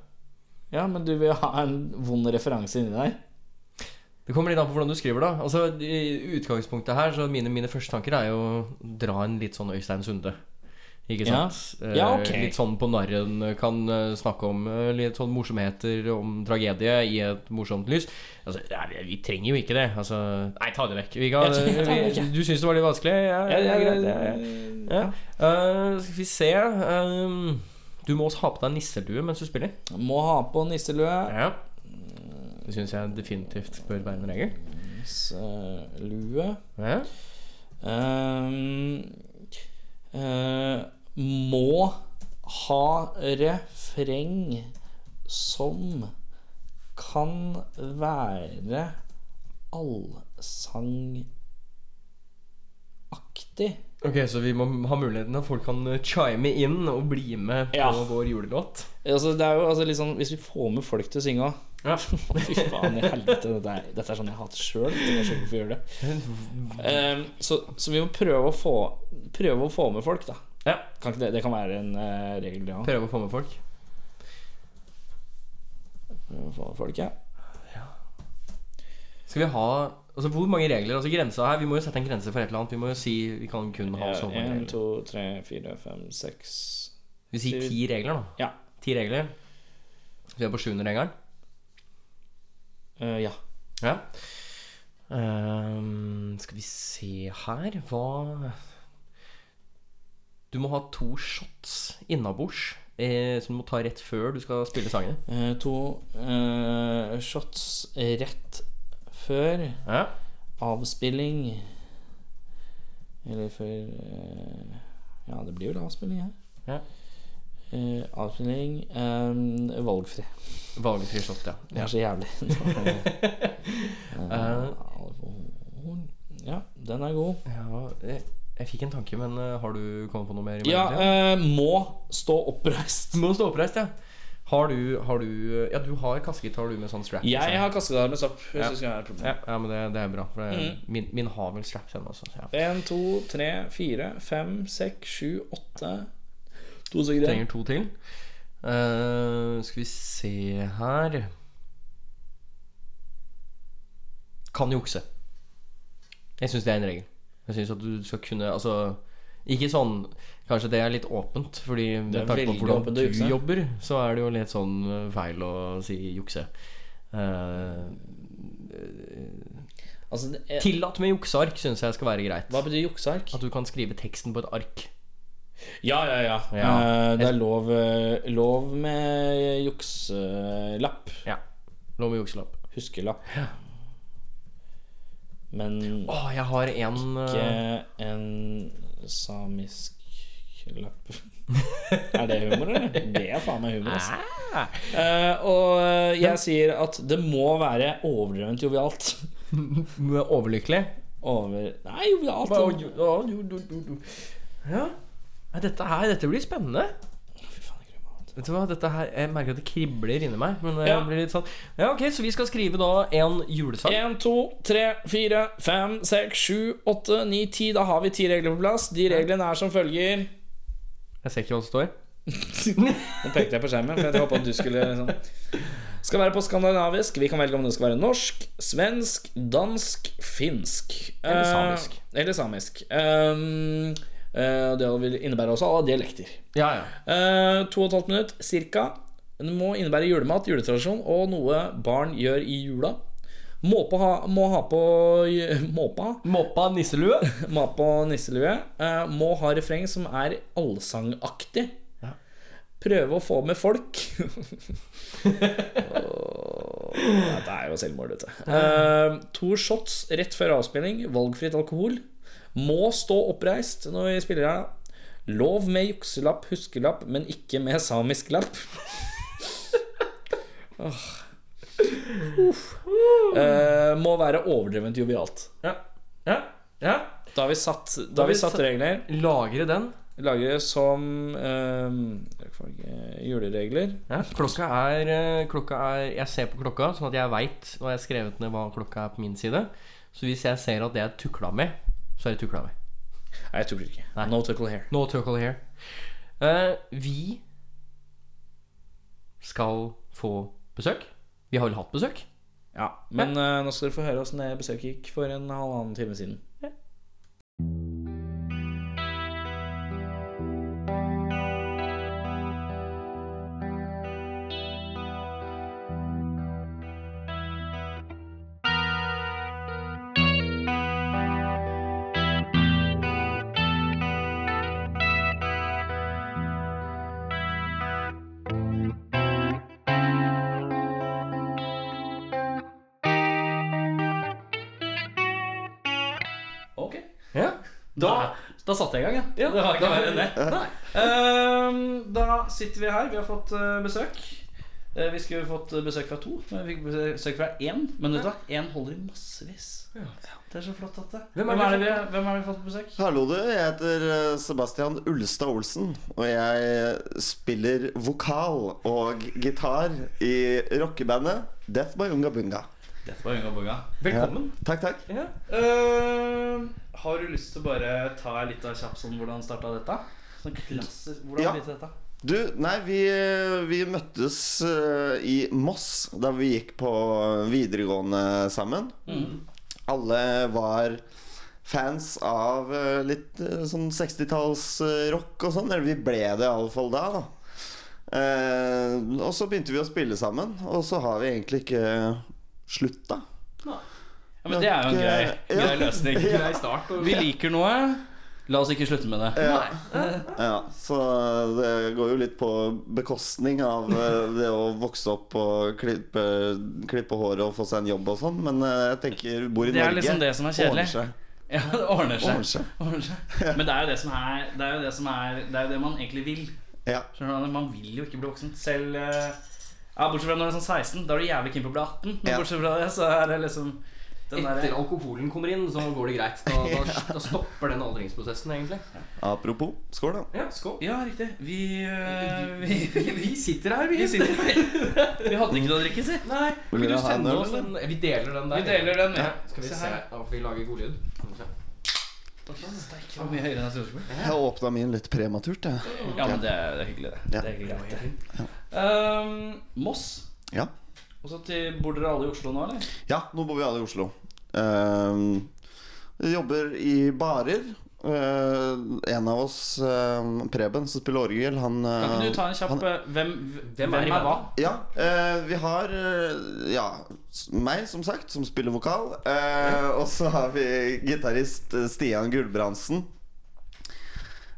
Ja, men du vil ha en vond referanse inni deg? Det kommer litt an på hvordan du skriver, da. Altså, I utgangspunktet her, så mine, mine første tanker er jo å dra en litt sånn Øystein Sunde. Ikke Ja. sant? Ja, Eh, ok. Litt sånn på narren kan eh, snakke om eh, litt sånn morsomheter om tragedie i et morsomt lys. Altså, nei, vi trenger jo ikke det. Altså, nei, ta det vekk. Vi kan, eh, Jeg tar det vi, du syns det var litt vanskelig? Ja, ja, ja, ja, ja, ja. Ja. Eh, skal vi se eh, Du må også ha på deg nisselue mens du spiller. Må ha på nisselue. Ja. Det syns jeg definitivt bør være en regel. Nisselue. Ja. Ehm, eh, må ha refreng som kan være allsangaktig. Ok, Så vi må ha muligheten at folk kan eh, chime inn og bli med på Ja. vår julelåt? Altså, det er jo altså, litt sånn Hvis vi får med folk til å synge òg Ja. [LAUGHS] Fy faen i helvete. Dette er, dette er sånn jeg hater sjøl. Jeg skjønner ikke hvorfor jeg gjør det. Ehm, så, så vi må prøve å få, prøve å få med folk, da. Ja. Kan ikke det, det kan være en eh, regel, det òg. Prøve å få med folk? Få med folk, ja. Skal vi ha Altså Hvor mange regler? Altså grensa her Vi må jo sette en grense for et eller annet. Vi må jo si vi kan kun ha så mange Én, regler. to, tre, fire, fem, seks Vi sier ti regler, da. Ja. Ti regler. Så vi er på sjuende regelen. Eh, ja. Ja. Ehm, skal vi se her Hva Du må ha to shots innabords eh, som du må ta rett før du skal spille sangene. Eh, to eh, shots rett før Ja. avspilling. Eller før eh, Ja, det blir vel avspilling her. Ja. Eh, avspilling eh, valgfri. Valgfri shot, ja. Det ja. er så [LAUGHS] jævlig. Eh, Alkohol. ja, den er god. ja jeg, jeg fikk en tanke, men eh, har du kommet på noe mer? i Ja, mellomtiden? eh, må stå oppreist. Må stå oppreist, ja. Har du, har du Ja, du har kassegitar du med sånn strap? Jeg liksom. har kassegitar med sopp. Hvis Ja. det skulle være et problem. ja, ja, men det, det er bra. For det, min, min har vel strap, den også. Ja. En, to, tre, fire, fem, seks, sju, åtte To stykker igjen. Trenger to til. Eh, skal vi se her Kan jukse. Jeg syns det er en regel. Jeg syns at du skal kunne Altså ikke sånn Kanskje det er litt åpent, fordi Det er med tanke på veldig hvordan åpent du å jukse. jobber, så er det jo litt sånn eh, feil å si jukse. Uh, Altså, det er, tillatt med jukseark syns jeg skal være greit. hva betyr jukseark? At du kan skrive teksten på et ark. Ja, ja, ja. Ja. Eh, det er lov, eh, lov med jukselapp. Ja. Lov med jukselapp. Huskelapp. Men Å, jeg har en ikke eh, en samisk lapp. er det humor, eller? Det er faen meg humor, altså. Eh, og jeg sier at det må være overdrevent jovialt. Overlykkelig. Over Nei, jovialt. Bare, jo, ja, jo, jo, jo, jo. Ja. Nei, Dette her, dette blir spennende. Fy faen, jeg gruer meg. Vet du hva, dette her, Jeg merker at det kribler inni meg. Men det Ja. blir litt sånn Ja, ok, Så vi skal skrive da en julesang. 1, 2, 3, 4, 5, 6, 7, 8, 9, 10 Da har vi ti regler på plass De reglene er som følger Jeg ser ikke hva det står. Nå pekte jeg på skjermen For jeg håpet at du skulle liksom Skal være på skandinavisk Vi kan velge om det skal være norsk, svensk, dansk, finsk Eller samisk. Eh, Eller samisk um, eh, Det vil innebære også alle dialekter Ja, ja. Eh, To og et halvt minutt, cirka. Den må innebære julemat, juletradisjon og noe barn gjør i jula. Måpe ha, må ha på Måpe ha Moppa nisselue. [LAUGHS] må ha på nisselue. eh, må ha refreng som er allsangaktig. Prøve å få med folk. Åh, Dette er jo selvmord, vet du. Eh, to shots rett før avspilling. Valgfritt alkohol. Må stå oppreist når vi spiller her. da. Lov med jukselapp, huskelapp, men ikke med samisk lapp. Åh. Uff. Eh, må være overdrevent jovialt. Ja. ja. ja. Da har vi satt, da har vi satt regler. Lagre den. Lagre som ehm, eh, juleregler. Ja. Klokka er eh, Klokka er Jeg ser på klokka, sånn at jeg veit og jeg har skrevet ned hva klokka er på min side. Så hvis jeg ser at det er tukla med, så er det tukla med. Nei, jeg tukler ikke. Nei. No tuckle hair. No tuckle here. Eh, vi skal få besøk. Vi har vel hatt besøk? Ja. Men eh, nå skal dere få høre åssen det besøket gikk for en halvannen time siden. Ok. Ja. Da, da satte jeg i gang, ja. Det var ikke verre enn det. Ehm, da sitter vi her. Vi har fått eh, besøk. Eh, Vi skulle jo fått besøk fra to, men vi fikk besøk fra én. Men vet du hva, én holder i massevis. Det er så flott at det. Hvem Hvem er er, det det vi, hvem er det vi har fått besøk? Hallo, du. Jeg heter eh, Sebastian Ulstad Olsen. Og jeg spiller vokal og gitar i rockebandet Death by Unga Bunga. Dette var Unga Bunga. Velkommen. Ja. Takk, takk. Eh, Ehm, har du lyst til å bare ta litt av kjapt sånn hvordan starta dette? Sånn klassisk, hvordan Ja. ja. dette? Du, nei, vi, vi møttes eh, i Moss da vi gikk på videregående sammen. Mhm. Alle var fans av eh, litt eh, sånn 60-tallsrock og sånn. Eller vi ble det iallfall da, da. Eh, og så begynte vi å spille sammen, og så har vi egentlig ikke slutta. Ja, men det er jo en grei, eh, Ja. grei løsning. [LAUGHS] Ja. Grei start, og- Vi liker noe. La oss ikke slutte med det. Ja. Ja, så det går jo litt på bekostning av eh, det å vokse opp og klippe, klippe håret og få seg en jobb og sånn, men eh, jeg tenker bor i Det er Norge. liksom det som er kjedelig. ordner seg. Ja, det ordner seg. Ordner seg. Ordner seg. Men det er jo det som er Det er jo det, som er, det, er jo det man egentlig vil. Skjønner du? Man vil jo ikke bli voksen. Selv eh, ja, Bortsett fra når du er sånn 16. Da er du jævlig keen på å bli 18. Men Ja. bortsett fra det, så er det liksom den derre- Etter alkoholen kommer inn, så går det greit. Da, da, da stopper den aldringsprosessen, egentlig. Apropos, skål, da. Ja, skål. Ja, riktig. Vi, eh, vi, Vi sitter her, vi. Vi sitter her. [LAUGHS] Vi hadde ikke noe å drikke, si. Nei. Vil Vil du dere ha en sende øl, oss en eller? Vi deler den der. Vi deler den, ja. ja. Skal vi Se se her. Da får vi lage god lyd. Skal vi se. Det var mye høyere enn jeg trodde. det skulle bli. Jeg åpna min litt prematurt, jeg. Ja, men det er, det er hyggelig, det. Ja. Det er hyggelig, det. Ehm, Moss. Ja. Og så til, Bor dere alle i Oslo nå, eller? Ja, nå bor vi alle i Oslo. Ehm, vi jobber i barer. Ehm, en av oss, ehm, Preben, som spiller orgel, han Kan ikke ehm, du ta en kjapp han- eh, hvem, hvem, er i er hva? Ja, eh, vi har eh, ja, s- meg, som sagt, som spiller vokal. eh, og så har vi gitarist eh, Stian Gulbrandsen.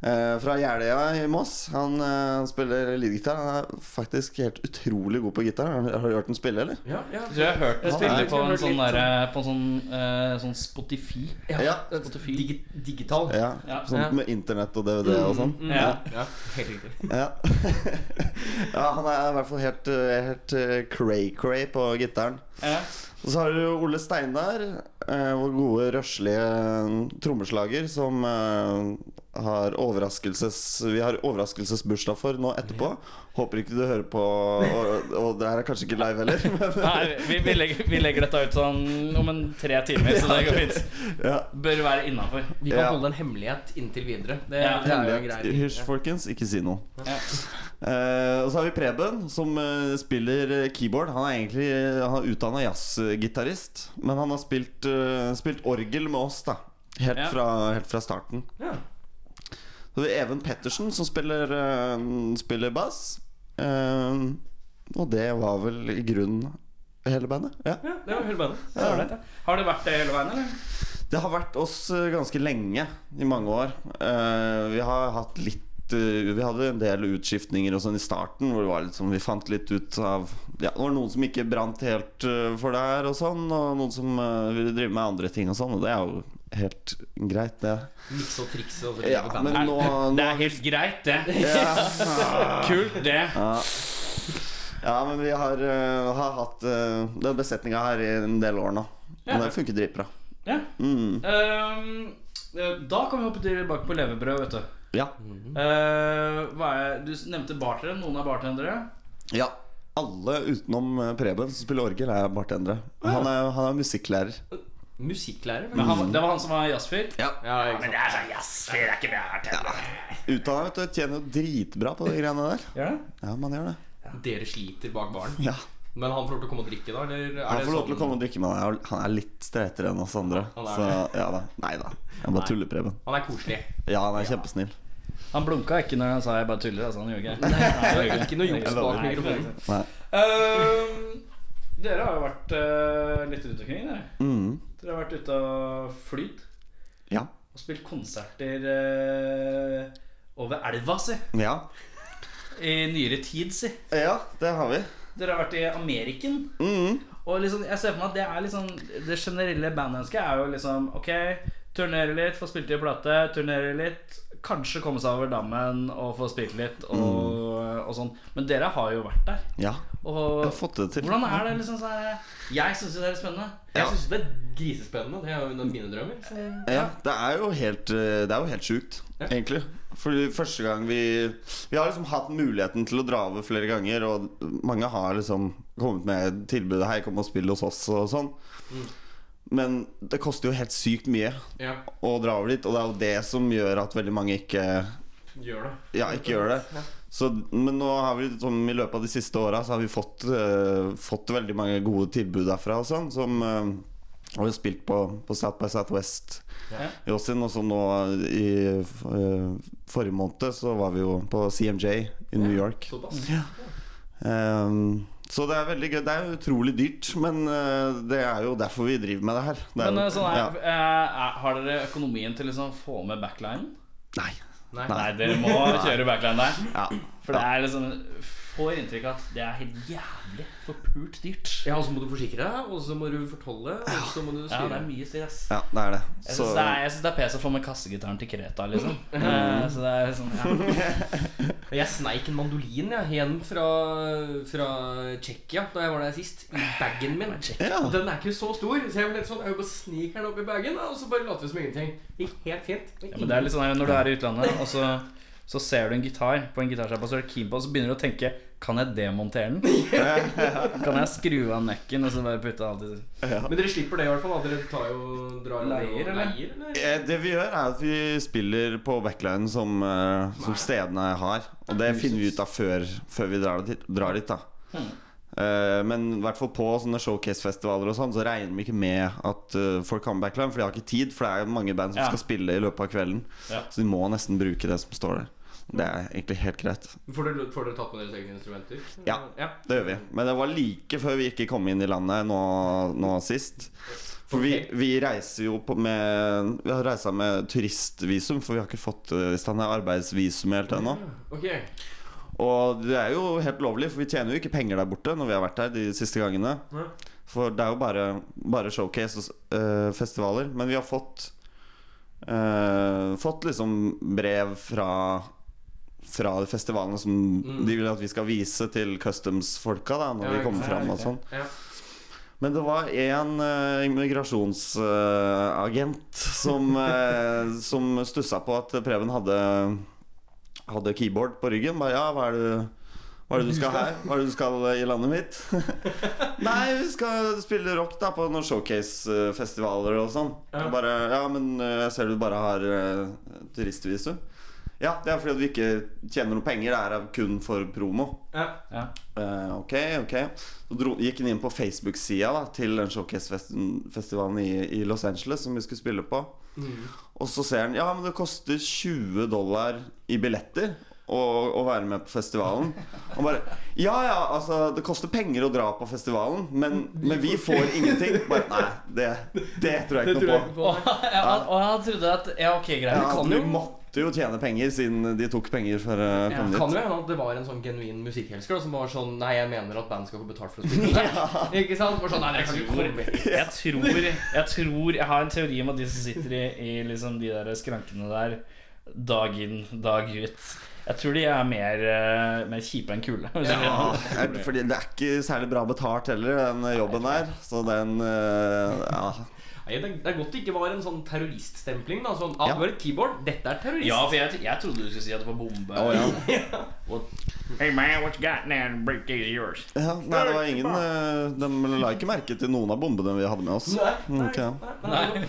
eh, fra Jeløya i Moss. Han eh, spiller leadgitar. Han er faktisk helt utrolig god på gitar. Har- Har du hørt ham spille, eller? Jeg tror jeg har hørt det Han spille er- på en sånn, der, eh, på en sånn, eh, sånn Spotify. Ja. Spotify. digital. Ja, Ja. sånn med internett og DVD og sånn. Mm, mm, ja. Ja, helt riktig. Ja. ja, han er i hvert fall helt, eh, helt eh, cray-cray på gitaren. Ja. Og så har du Ole Steinar, eh, vår gode, røslige eh, trommeslager, som eh, har overraskelses, vi har overraskelsesbursdag for nå etterpå. Håper ikke du hører på, og, og det her er kanskje ikke live heller. [LAUGHS] Men, Nei, vi, vi, legger, vi legger dette ut sånn om en tre timer, så det går fint. Bør være innafor. Vi kan Ja. holde en hemmelighet inntil videre. Det, Ja. det er jo en Hemmelighet. grei Hysj, folkens, ikke si noe. Ja. Eh, og så har vi Preben, som eh, spiller eh, keyboard. Han er egentlig eh, Han er utdanna jazzgitarist, men han har spilt, eh, spilt orgel med oss, da. Helt, Ja. fra, helt fra starten. Ja. Så har vi Even Pettersen, som spiller, eh, spiller bass. Eh, og det var vel i grunnen hele bandet. Ja. Ja, det var hele bandet. Det var ålreit, det. Har det vært det hele veien, eller? Det har vært oss eh, ganske lenge, i mange år. Eh, Vi har hatt litt eh, vi hadde en del utskiftninger og sånn i starten hvor det var litt sånn, vi fant litt ut av ja, Det var noen som ikke brant helt eh, for det her, og sånn, og noen som eh, ville drive med andre ting og sånn, og det er jo helt greit, det. Mikse og trikse og så Ja, leve men bandet. nå, Det er helt greit, det. Ja. [LAUGHS] Kult, det. Ja. Ja, men vi har, eh, har hatt uh, den besetninga her i en del år nå. Ja. Og det funker dritbra. Ja. Mm. Ehm, eh, da kan vi hoppe tilbake på levebrød, vet du. Ja. Eh, hva er, du nevnte bartendere. Noen er bartendere. Ja, alle utenom eh, Preben som spiller orgel, er bartendere. Han er, han er musikklærer. Musikklærer? Men han, Mm. det var han som var jazzfyr? Ja. men det er sånn jazzfyr, det er ikke bartender. Utdanna, vet du. Tjener jo dritbra på de greiene der. Gjør det? Ja, man gjør det. Dere sliter bak baren. Ja. Men han får lov til å komme og drikke, da? Eller er Han det får lov til å sånn- komme og drikke, men han er- han er litt streitere enn oss andre. Han Så er ja da. Nei da. Jeg bare Nei. tuller, Preben. Han er koselig. Ja, han er kjempesnill. Han blunka ikke når han sa 'jeg bare tuller'. Altså, han gjorde ikke [LAUGHS] det var ikke noe juks Jeg bak lover. mikrofonen. Nei. Ehm, dere har jo vært eh, litt rundt omkring, dere. Mhm. Dere har vært ute og flydd. Ja. Og spilt konserter eh, over elva, si. Ja. I nyere tid, si. ja, det har vi. Dere har vært i Ameriken. Mm-hmm. Og liksom, jeg ser for meg at det er liksom Det generelle bandønsket er jo liksom Ok, turnere litt, få spilt i plate, turnere litt, kanskje komme seg over dammen og få spilt litt og, og sånn. Men dere har jo vært der. Mm. Ja. Og Jeg har fått det til. hvordan er det liksom sånn her Jeg syns jo det er spennende. Jeg Ja. synes det er Grisespennende. Det er jo en av mine drømmer. Så. Ja, det er jo helt, eh, det er jo helt sjukt, egentlig. Fordi første gang vi Vi har liksom hatt muligheten til å dra over flere ganger, og mange har liksom kommet med tilbudet 'Hei, kom og spill hos oss', og sånn. Men det koster jo helt sykt mye Ja. å dra over dit, og det er jo det som gjør at veldig mange ikke Gjør det. ja, ikke gjør det. Så, men nå har vi sånn, i løpet av de siste åra så har vi fått, eh, fått veldig mange gode tilbud derfra og sånn. Som eh, har jo spilt på, på South by Southwest Ja. i Austin. Og så nå i eh, forrige måned så var vi jo på CMJ i New York. såpass. Ja. Ehm, så det er veldig gøy. Det er jo utrolig dyrt, men eh, det er jo derfor vi driver med det her. Det er Men eh, jo- sånn ja. her, eh, er- har dere økonomien til liksom å få med backlinen? Nei. Nei, dere [LAUGHS] må kjøre backline der. Ja. For det er liksom Får inntrykk av at det er helt jævlig forpult dyrt. Ja, og så må du forsikre deg, og så må du fortolle, og så må du styre. Ja, det er mye styr, ass. Ja, det er det. Jeg Så- syns det, er- jeg synes det er pes å få med kassegitaren til Kreta, [LAUGHS] liksom. Mm. Eh, Så det er sånn ja. Og Jeg sneik en mandolin jeg, hjem fra, fra Tsjekkia da jeg var der sist. I bagen min. Og Den er ikke så stor, så jeg ble litt sånn, jeg bare sniker den opp i bagen, og så bare later vi som ingenting. Det Gikk helt fint. Ja, men det er litt sånn her, Når du er i utlandet, og så, så ser du en gitar på en gitarsjappe, og så er du keen på, og så begynner du å tenke Kan jeg [LAUGHS] demontere den? kan jeg skru av nekken og så bare putte alt i Men dere slipper det i hvert fall. Da. Dere tar jo, drar jo Leier, eller? leier, eller? Eh, Det vi gjør, er at vi spiller på backline som, eh, som stedene har. Og det finner vi ut av før, før vi drar dit. Drar dit da. Hmm. Eh, men i hvert fall på sånne showcase-festivaler og sånn, så regner vi ikke med at eh, folk har med backline, for de har ikke tid. For det er mange band som Ja. skal spille i løpet av kvelden. Ja. Så de må nesten bruke det som står der. Det er egentlig helt greit. Får dere, får dere tatt med deres egne instrumenter? Ja, det gjør vi. Men det var like før vi ikke kom inn i landet nå, nå sist. For vi, vi reiser jo på med Vi har reisa med turistvisum, for vi har ikke fått eh, i stand det arbeidsvisum helt ennå. Ok. Og det er jo helt lovlig, for vi tjener jo ikke penger der borte når vi har vært der de siste gangene. Nei. For det er jo bare, bare showcase og s- eh, festivaler. Men vi har fått eh, Fått liksom brev fra Fra de festivalene som Mm. de vil at vi skal vise til customs-folka da når Ja, vi kommer ikke sant. fram og sånn. Ja. Men det var en eh, immigrasjonsagent [LAUGHS] som, eh, som stussa på at Preben hadde, hadde keyboard på ryggen. Bare, ja, hva er det hva er det du skal her? Hva er det du skal eh, i landet mitt? [LAUGHS] Nei, vi skal spille rock da på noen showcase-festivaler og sånn. Ja. Og Bare, ja, men eh, jeg ser du bare har eh, turistvisum. Ja, det er fordi at vi ikke tjener noen penger. Det er kun for promo. Ja. Eh, ok, ok Så dro, gikk han inn på Facebook-sida da, til den showcase-festivalen i, i Los Angeles som vi skulle spille på. Mm. Og så ser han ja, men det koster 20 dollar i billetter å, å være med på festivalen. Og bare Ja ja, altså det koster penger å dra på festivalen, men, men vi får ingenting. Bare nei, det, det tror jeg ikke noe på. Å, ja, og han trodde at Ja, ok, greit. Ja, Det de måtte jo tjene penger siden de tok penger for eh, å Ja. komme Det kan jo dit. hende at det var en sånn genuin musikkelsker da, som var sånn Nei, jeg mener at band skal få betalt for å [LAUGHS] spille der. Ikke sant? Bare sånn, nei, dere kan ikke komme hit. Jeg tror, jeg tror Jeg har en teori om at de som sitter i, i liksom de der skrankene der dag inn, dag ut Jeg tror de er mer, eh, mer kjipe enn kule. hvis [LAUGHS] jeg Ja, skjønner. fordi det [LAUGHS] er ikke særlig bra betalt heller, den jobben der. Så den eh, Ja. Nei, det, det er godt det ikke var en sånn terroriststempling. da Sånn, ah, Du har et keyboard, dette er terrorist. Ja, for jeg, jeg trodde du skulle si at det var bombe. Å, ja. What? Hey man, what you got now? Break these yours. ja nei, det var ingen eh, De la ikke merke til noen av bombene vi hadde med oss. Mm, Nei, nei,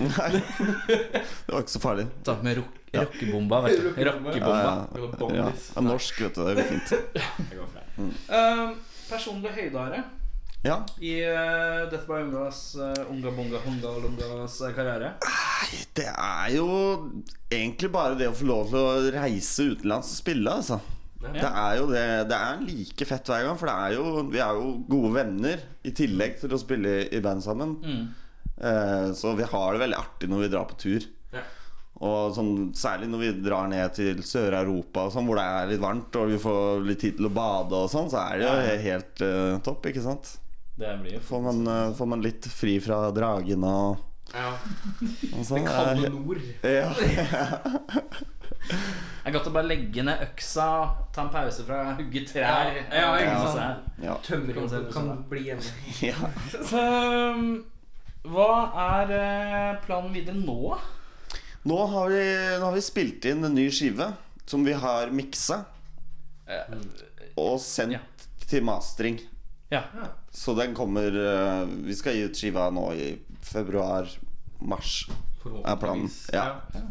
Ok. [LAUGHS] Det var ikke så farlig. Takk med rock, rockebomba, vet du. Rockebomba. Ja, ja, ja. ja, norsk, vet du. Det går fint. Mm. Ehm, personlig høydehare Ja. i eh, Death by Ungas eh, Unga Bunga Hunga Lungas eh, karriere. Det er jo egentlig bare det å få lov til å reise utenlands og spille, altså. Ja. Det er jo det Det er like fett hver gang, for det er jo, vi er jo gode venner i tillegg til å spille i- i band sammen. Eh, Så vi har det veldig artig når vi drar på tur. Ja. Og sånn, Særlig når vi drar ned til Sør-Europa, og sånn, hvor det er litt varmt og vi får litt tid til å bade, og sånn, så er det jo Ja. he- helt eh, topp, ikke sant? Det blir jo Får man, eh, får man litt fri fra dragene og sånn. Ja. og sånn. Det kalde Eh, nord. Ja. Det er godt å bare legge ned øksa, ta en pause fra å hugge trær. Ja, ja, ikke Komme sant? seg- Ja. komme seg Tømmerjobb på kan sola. bli hjemme. Ja. Så, um, hva er eh, planen videre nå? Nå har, vi, nå har vi spilt inn en ny skive som vi har miksa Eh, og sendt til mastering. Ja. Så den kommer eh, Vi skal gi ut skiva nå i februar-mars, er planen. Ja.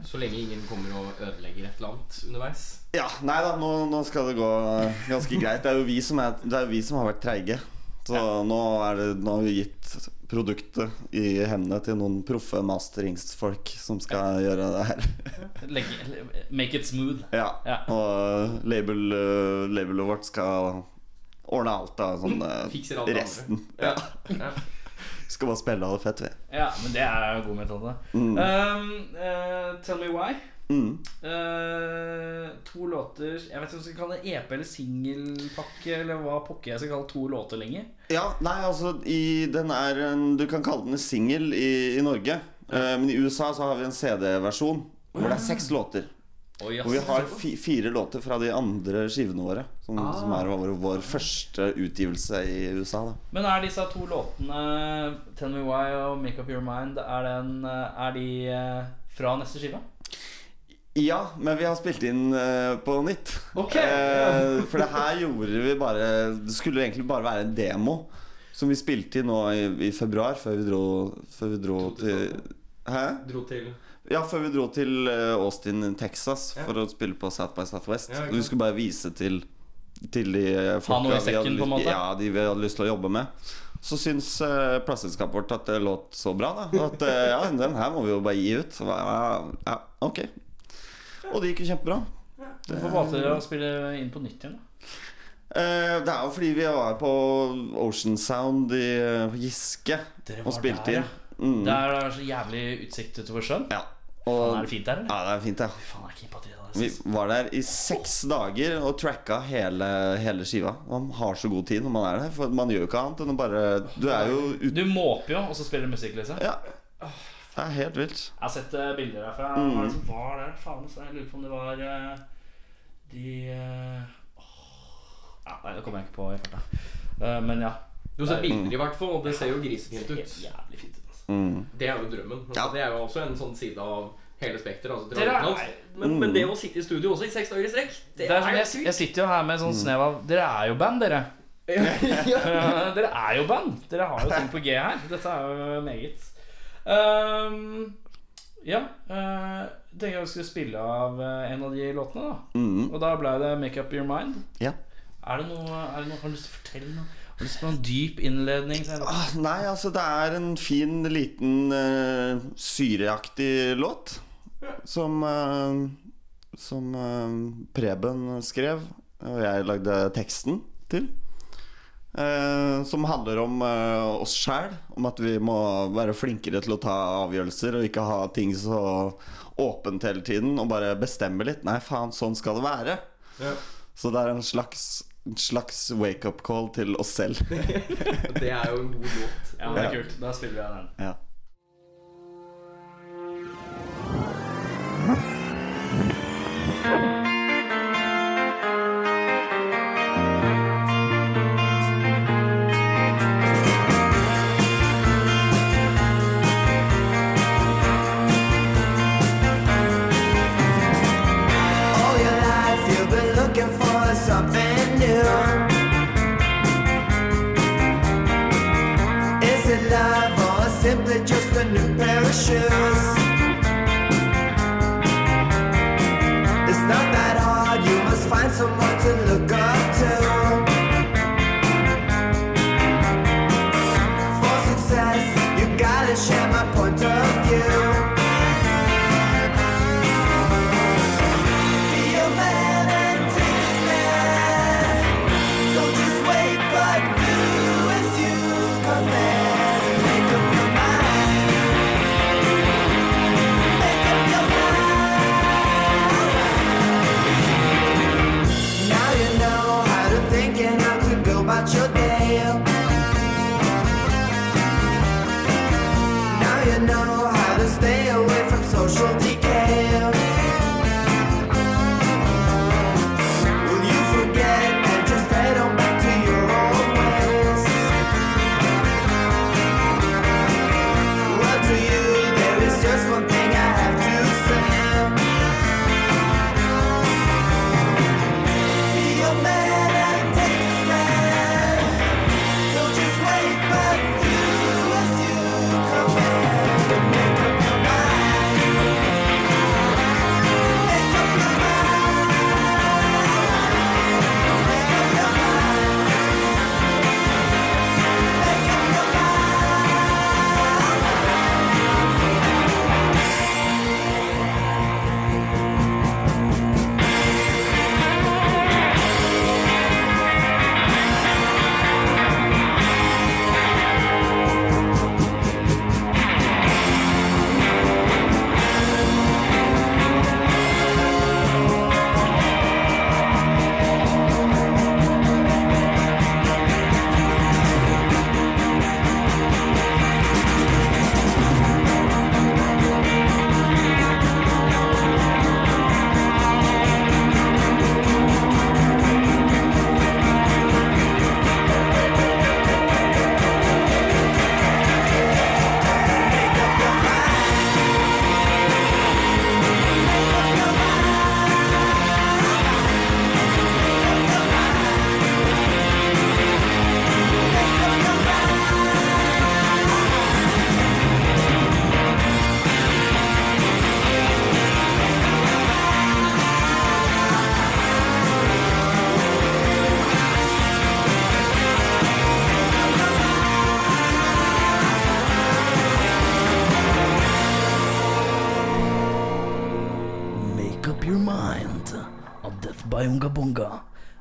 Så lenge ingen kommer og ødelegger et eller annet underveis. Ja, nei da, nå, nå skal det gå eh, ganske greit. Det er jo vi som, er, det er jo vi som har vært treige. Så nå, er det, nå har vi gitt produktet i hendene til noen proffe masteringsfolk som skal gjøre det her. Legge, make it smooth. Ja, Og eh, label, eh, labelet vårt skal ordne alt av sånn eh, Fikser alt det andre. resten. Ja. skal bare spille av det fett, vi. Ja, men det er jo god metode. Mm. Um, eh, tell me why. Mm. Eh, to låter Jeg vet ikke om jeg skal kalle det EP eller singelpakke, eller hva pokker jeg skal kalle to låter lenger. Ja, nei, altså i, den er en, Du kan kalle den en singel i, i Norge. Eh, men i USA så har vi en CD-versjon hvor det er seks låter. Oi, ass. Og vi har fi, fire låter fra de andre skivene våre, som, Ah. som er vår, vår første utgivelse i USA. Da. Men er disse to låtene, 'Tell Me Why' og 'Make Up Your Mind', er, den, eh, er de eh, fra neste skive? Ja, men vi har spilt inn eh, på nytt. Ok. Eh, for det her gjorde vi bare Det skulle egentlig bare være en demo som vi spilte inn nå i, i februar, før vi dro, før vi dro til Hæ? Dro til Ja, før vi dro til eh, Austin, Texas Ja. for å spille på South by Southwest. Ja, ikke vi skulle bare vise til, til de eh, noe i folka vi, sekken, hadde, på en måte. lyst- ja, de vi hadde lyst til å jobbe med. Så syns uh, plateselskapet vårt at det låt så bra, da. At eh, ja, den her må vi jo bare gi ut. Så, ja, ja, ok. Og det gikk jo kjempebra. Du får valgte dere å spille inn på nytt igjen. da. Eh, det er jo fordi vi var på Ocean Sound i eh, på Giske Dere og var spilte der, inn. Mm. Der er det så jævlig utsikt utover sjøen. Ja. Faen, er det fint der, eller? Ja, det er fint, ja. Faen, er altså. ikke empati, da. Vi var der i seks dager og tracka hele, hele skiva. Man har så god tid når man er der, for man gjør jo ikke annet enn å bare Du er jo ut... Du måper jo, og så spiller du musikk, liksom. Ja. Det er helt vilt. Jeg har sett eh, bilder derfra. Mm. Hva er det som var der? Faen, så jeg lurer på om det var eh, de eh, åh. ja, Nei, det kommer jeg ikke på i farta. Eh, men ja. Du har sett bilder i hvert fall, og det ser jo grisefint ut. Jævlig fint ut, altså. Mm. Det er jo drømmen. Altså, Det er jo også en sånn side av hele spekteret. Altså, Dere er- dra utenlands. men, men Mm. det å sitte i studio også i seks dager i strekk, det, Det er sånn, er jo jeg, sykt. jeg sitter jo her med sånn snev av Dere er jo band, [LAUGHS] dere. Eh, [LAUGHS] dere er jo band. Dere har jo ting på G her. Dette er jo meget. Ehm, ja. Uh, tenker jeg vi skulle spille av eh, en av de låtene, da. Mhm. Og da ble det 'Make Up Your Mind'. Ja. Er det noe, er det noe Har du lyst til å fortelle noe? Har du lyst på en dyp innledning? til en låt? Ah, nei, altså, det er en fin, liten eh, syreaktig låt som eh, Som eh, Preben skrev, og jeg lagde teksten til. Eh, som handler om eh, oss sjæl. Om at vi må være flinkere til å ta avgjørelser og ikke ha ting så åpent hele tiden. Og bare bestemme litt. Nei, faen, sånn skal det være. Ja. Så det er en slags, en slags wake-up call til oss selv. Det er jo en god låt. Ja, det er kult. Da spiller vi av den. ja. All your life you've been looking for something new. Is it love or simply just a new pair of shoes? It's not that hard, you must find someone to look up to. For success, you gotta share my point of view. Be a man and take a stand. Don't just wait, but do as you command. Make up your mind. Make up your mind. Now you know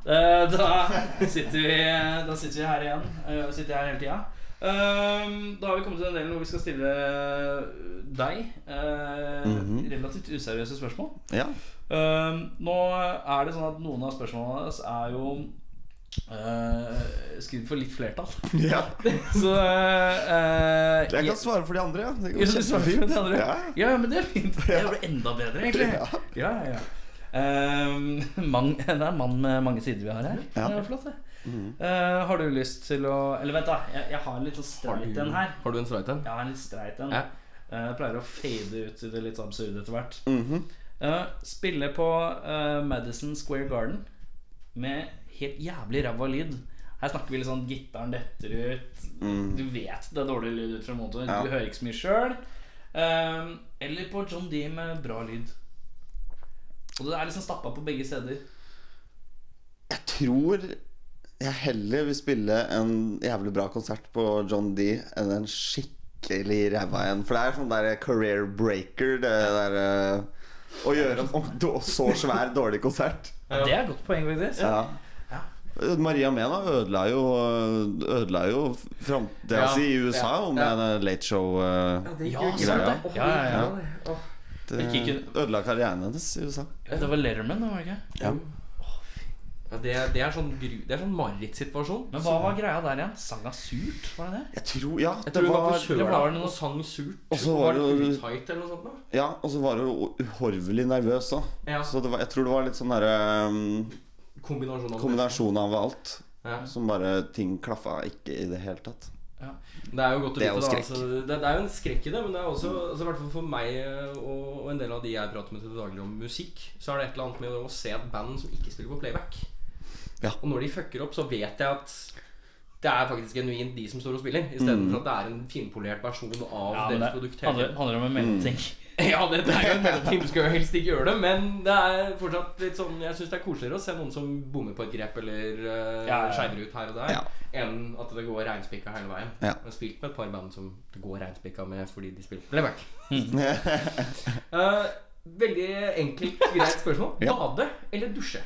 Eh, da, sitter vi, da sitter vi her igjen. eh, og sitter her hele tida. Ehm, da har vi kommet til den delen hvor vi skal stille deg eh, Mhm. relativt useriøse spørsmål. Ja. Ehm, nå er det sånn at noen av spørsmålene deres er jo eh, skrevet for litt flertall. [LAUGHS] Ja. [LAUGHS] Så eh, Jeg kan svare for de andre, ja. Det ja, går du svarer for kjempefint. det andre. Ja. Ja, ja, men det er fint. Det blir enda bedre, egentlig. Ja, ja, ja. Ehm, mang, [LAUGHS] det er en mann med mange sider vi har her. Ja. Det er flott, det. Mhm. Eh, har du lyst til å Eller vent, da. Jeg, jeg har en litt sånn streit en her. Har du en streit en? Jeg har en litt streit en. Ja. Eh, jeg pleier å fade ut i det litt absurde etter hvert. Mhm. Eh, spille på eh, Madison Square Garden med helt jævlig ræva lyd. Her snakker vi litt sånn gitaren detter ut. Mm. Du vet det er dårlig lyd ut fra motoren. Ja. Du hører ikke så mye sjøl. Eh, eller på John D med bra lyd. Og det er liksom stappa på begge steder. Jeg tror jeg heller vil spille en jævlig bra konsert på John D enn en skikkelig ræva en. For det er sånn der career breaker, det der eh, Å gjøre en å- så svær, dårlig konsert. Ja, det er et godt poeng, faktisk. Ja. Maria Mena ødela jo Ødela jo framtida Ja, si i USA ja, jo med ja. den Late Show eh, Ja, det gikk jo ikke sant, greia. det. Ja, ja, ja. Ja. Det Det gikk ikke- ødela karrieren hennes i USA. Det var Letterman, det var det ikke? Ja. Ja, det, er- det er sånn, gru- det er sånn marerittsituasjon. Men hva var greia der igjen? Sang hun surt? Var det det? Jeg tror, ja, Jeg tror hun var på det kjøla var- og sang surt. Og så var det jo- tight eller noe sånt. da Ja, og så var hun uhorvelig nervøs òg. Ja. Så det var, jeg tror det var litt sånn derre um, Kombinasjon av det. Kombinasjon av alt. Ja. Som bare Ting klaffa ikke i det hele tatt. Det er jo godt å Det er vite, jo da. skrekk. Altså, det, det er jo en skrekk i det, men det er også, altså, i hvert fall for meg eh, og, og en del av de jeg prater med til daglig om musikk, så er det et eller annet med å se et band som ikke spiller på playback. Og når de fucker opp, så vet jeg at det er faktisk genuint de som står og spiller, Mm. istedenfor at det er en finpolert versjon av Ja, men deres det produkt. hele handler, tiden. handler om en Mm. mellomting. [LAUGHS] Ja, det, det er jo en mellomting. Du skal jo helst ikke gjøre det, men det er fortsatt litt sånn Jeg syns det er koseligere å se noen som bommer på et grep eller Ja, uh, ja, ja. skeiver ut her og der, enn at det går reinspikka hele veien. Ja. Jeg har spilt med et par band som det går reinspikka med fordi de spiller [LAUGHS] playback. Eh, veldig enkelt, greit spørsmål. Ja. Bade eller dusje?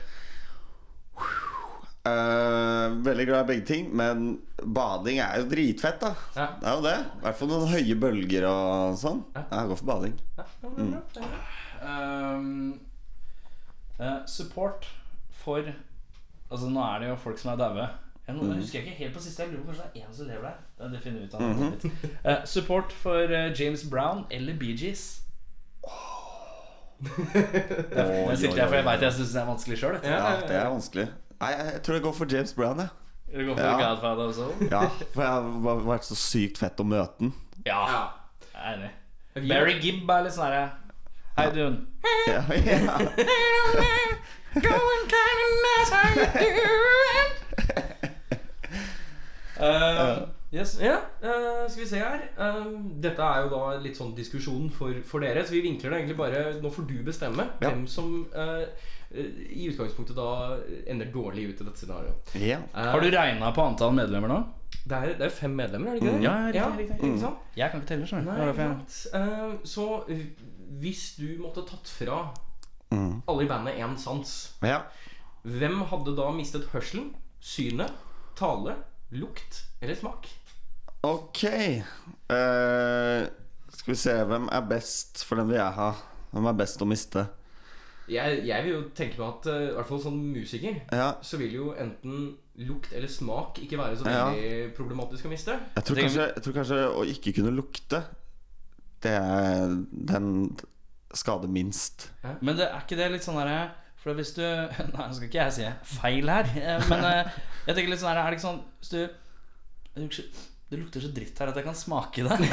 Eh, veldig glad i begge ting, men bading er jo dritfett, da. Det er jo det. I hvert fall noen høye bølger og sånn. Jeg går for bading. Mm. Ehm, eh, support for Altså Nå er det jo folk som er daue. Jeg nå Mhm. husker jeg ikke helt på siste. Jeg lurer på Kanskje det er én som lever der. Det- Det finner vi ut av. Mhm. Eh, support for eh, James Brown eller Bee Gees. Oi, Den sitter oi, jeg for jeg oi. vet jeg syns det er vanskelig sjøl. Ja, det er vanskelig. Nei, jeg jeg tror jeg går for James Brown, jeg. Du går for Godfather sånn? også? ja, for jeg har bare vært så sykt fett å møte den. Ja. Jeg er enig. Barry Gibb er litt sånn herre Hei, du. Ja, [LAUGHS] ja. Eh, yes. Ja, eh, skal vi se her. Eh, dette er jo da litt sånn diskusjon for, for dere, så vi vinkler det egentlig bare Nå får du bestemme Ja. hvem som eh, eh, i utgangspunktet da ender dårlig ut i dette scenarioet. Eh, Ja. Har du regna på antall medlemmer nå? Det er, det er fem medlemmer, er det ikke det? Mm, ja, riktig, riktig, ikke riktig. sant? Jeg kan ikke telle, skjønner du. Det Nei, er derfor jeg- ikke sant. Eh, Så eh, hvis du måtte tatt fra Mm. alle i bandet én sans, Ja. hvem hadde da mistet hørselen, synet, tale, lukt eller smak? Ok Eh, Skal vi se Hvem er best for den vil jeg ha Hvem er best å miste Jeg, jeg vil jo tenke meg at eh, i hvert fall som musiker Ja. så vil jo enten lukt eller smak ikke være så Ja. veldig problematisk å miste. Jeg tror, kanskje, jeg tror kanskje å ikke kunne lukte Det er den skader minst Men det, er ikke det litt sånn derre For hvis du [LAUGHS] Nei, nå skal ikke jeg si feil her, eh, men eh, jeg tenker litt sånn herre Er det ikke sånn Hvis du det lukter så- Det lukter så dritt her at jeg kan smake det. [LAUGHS] Er det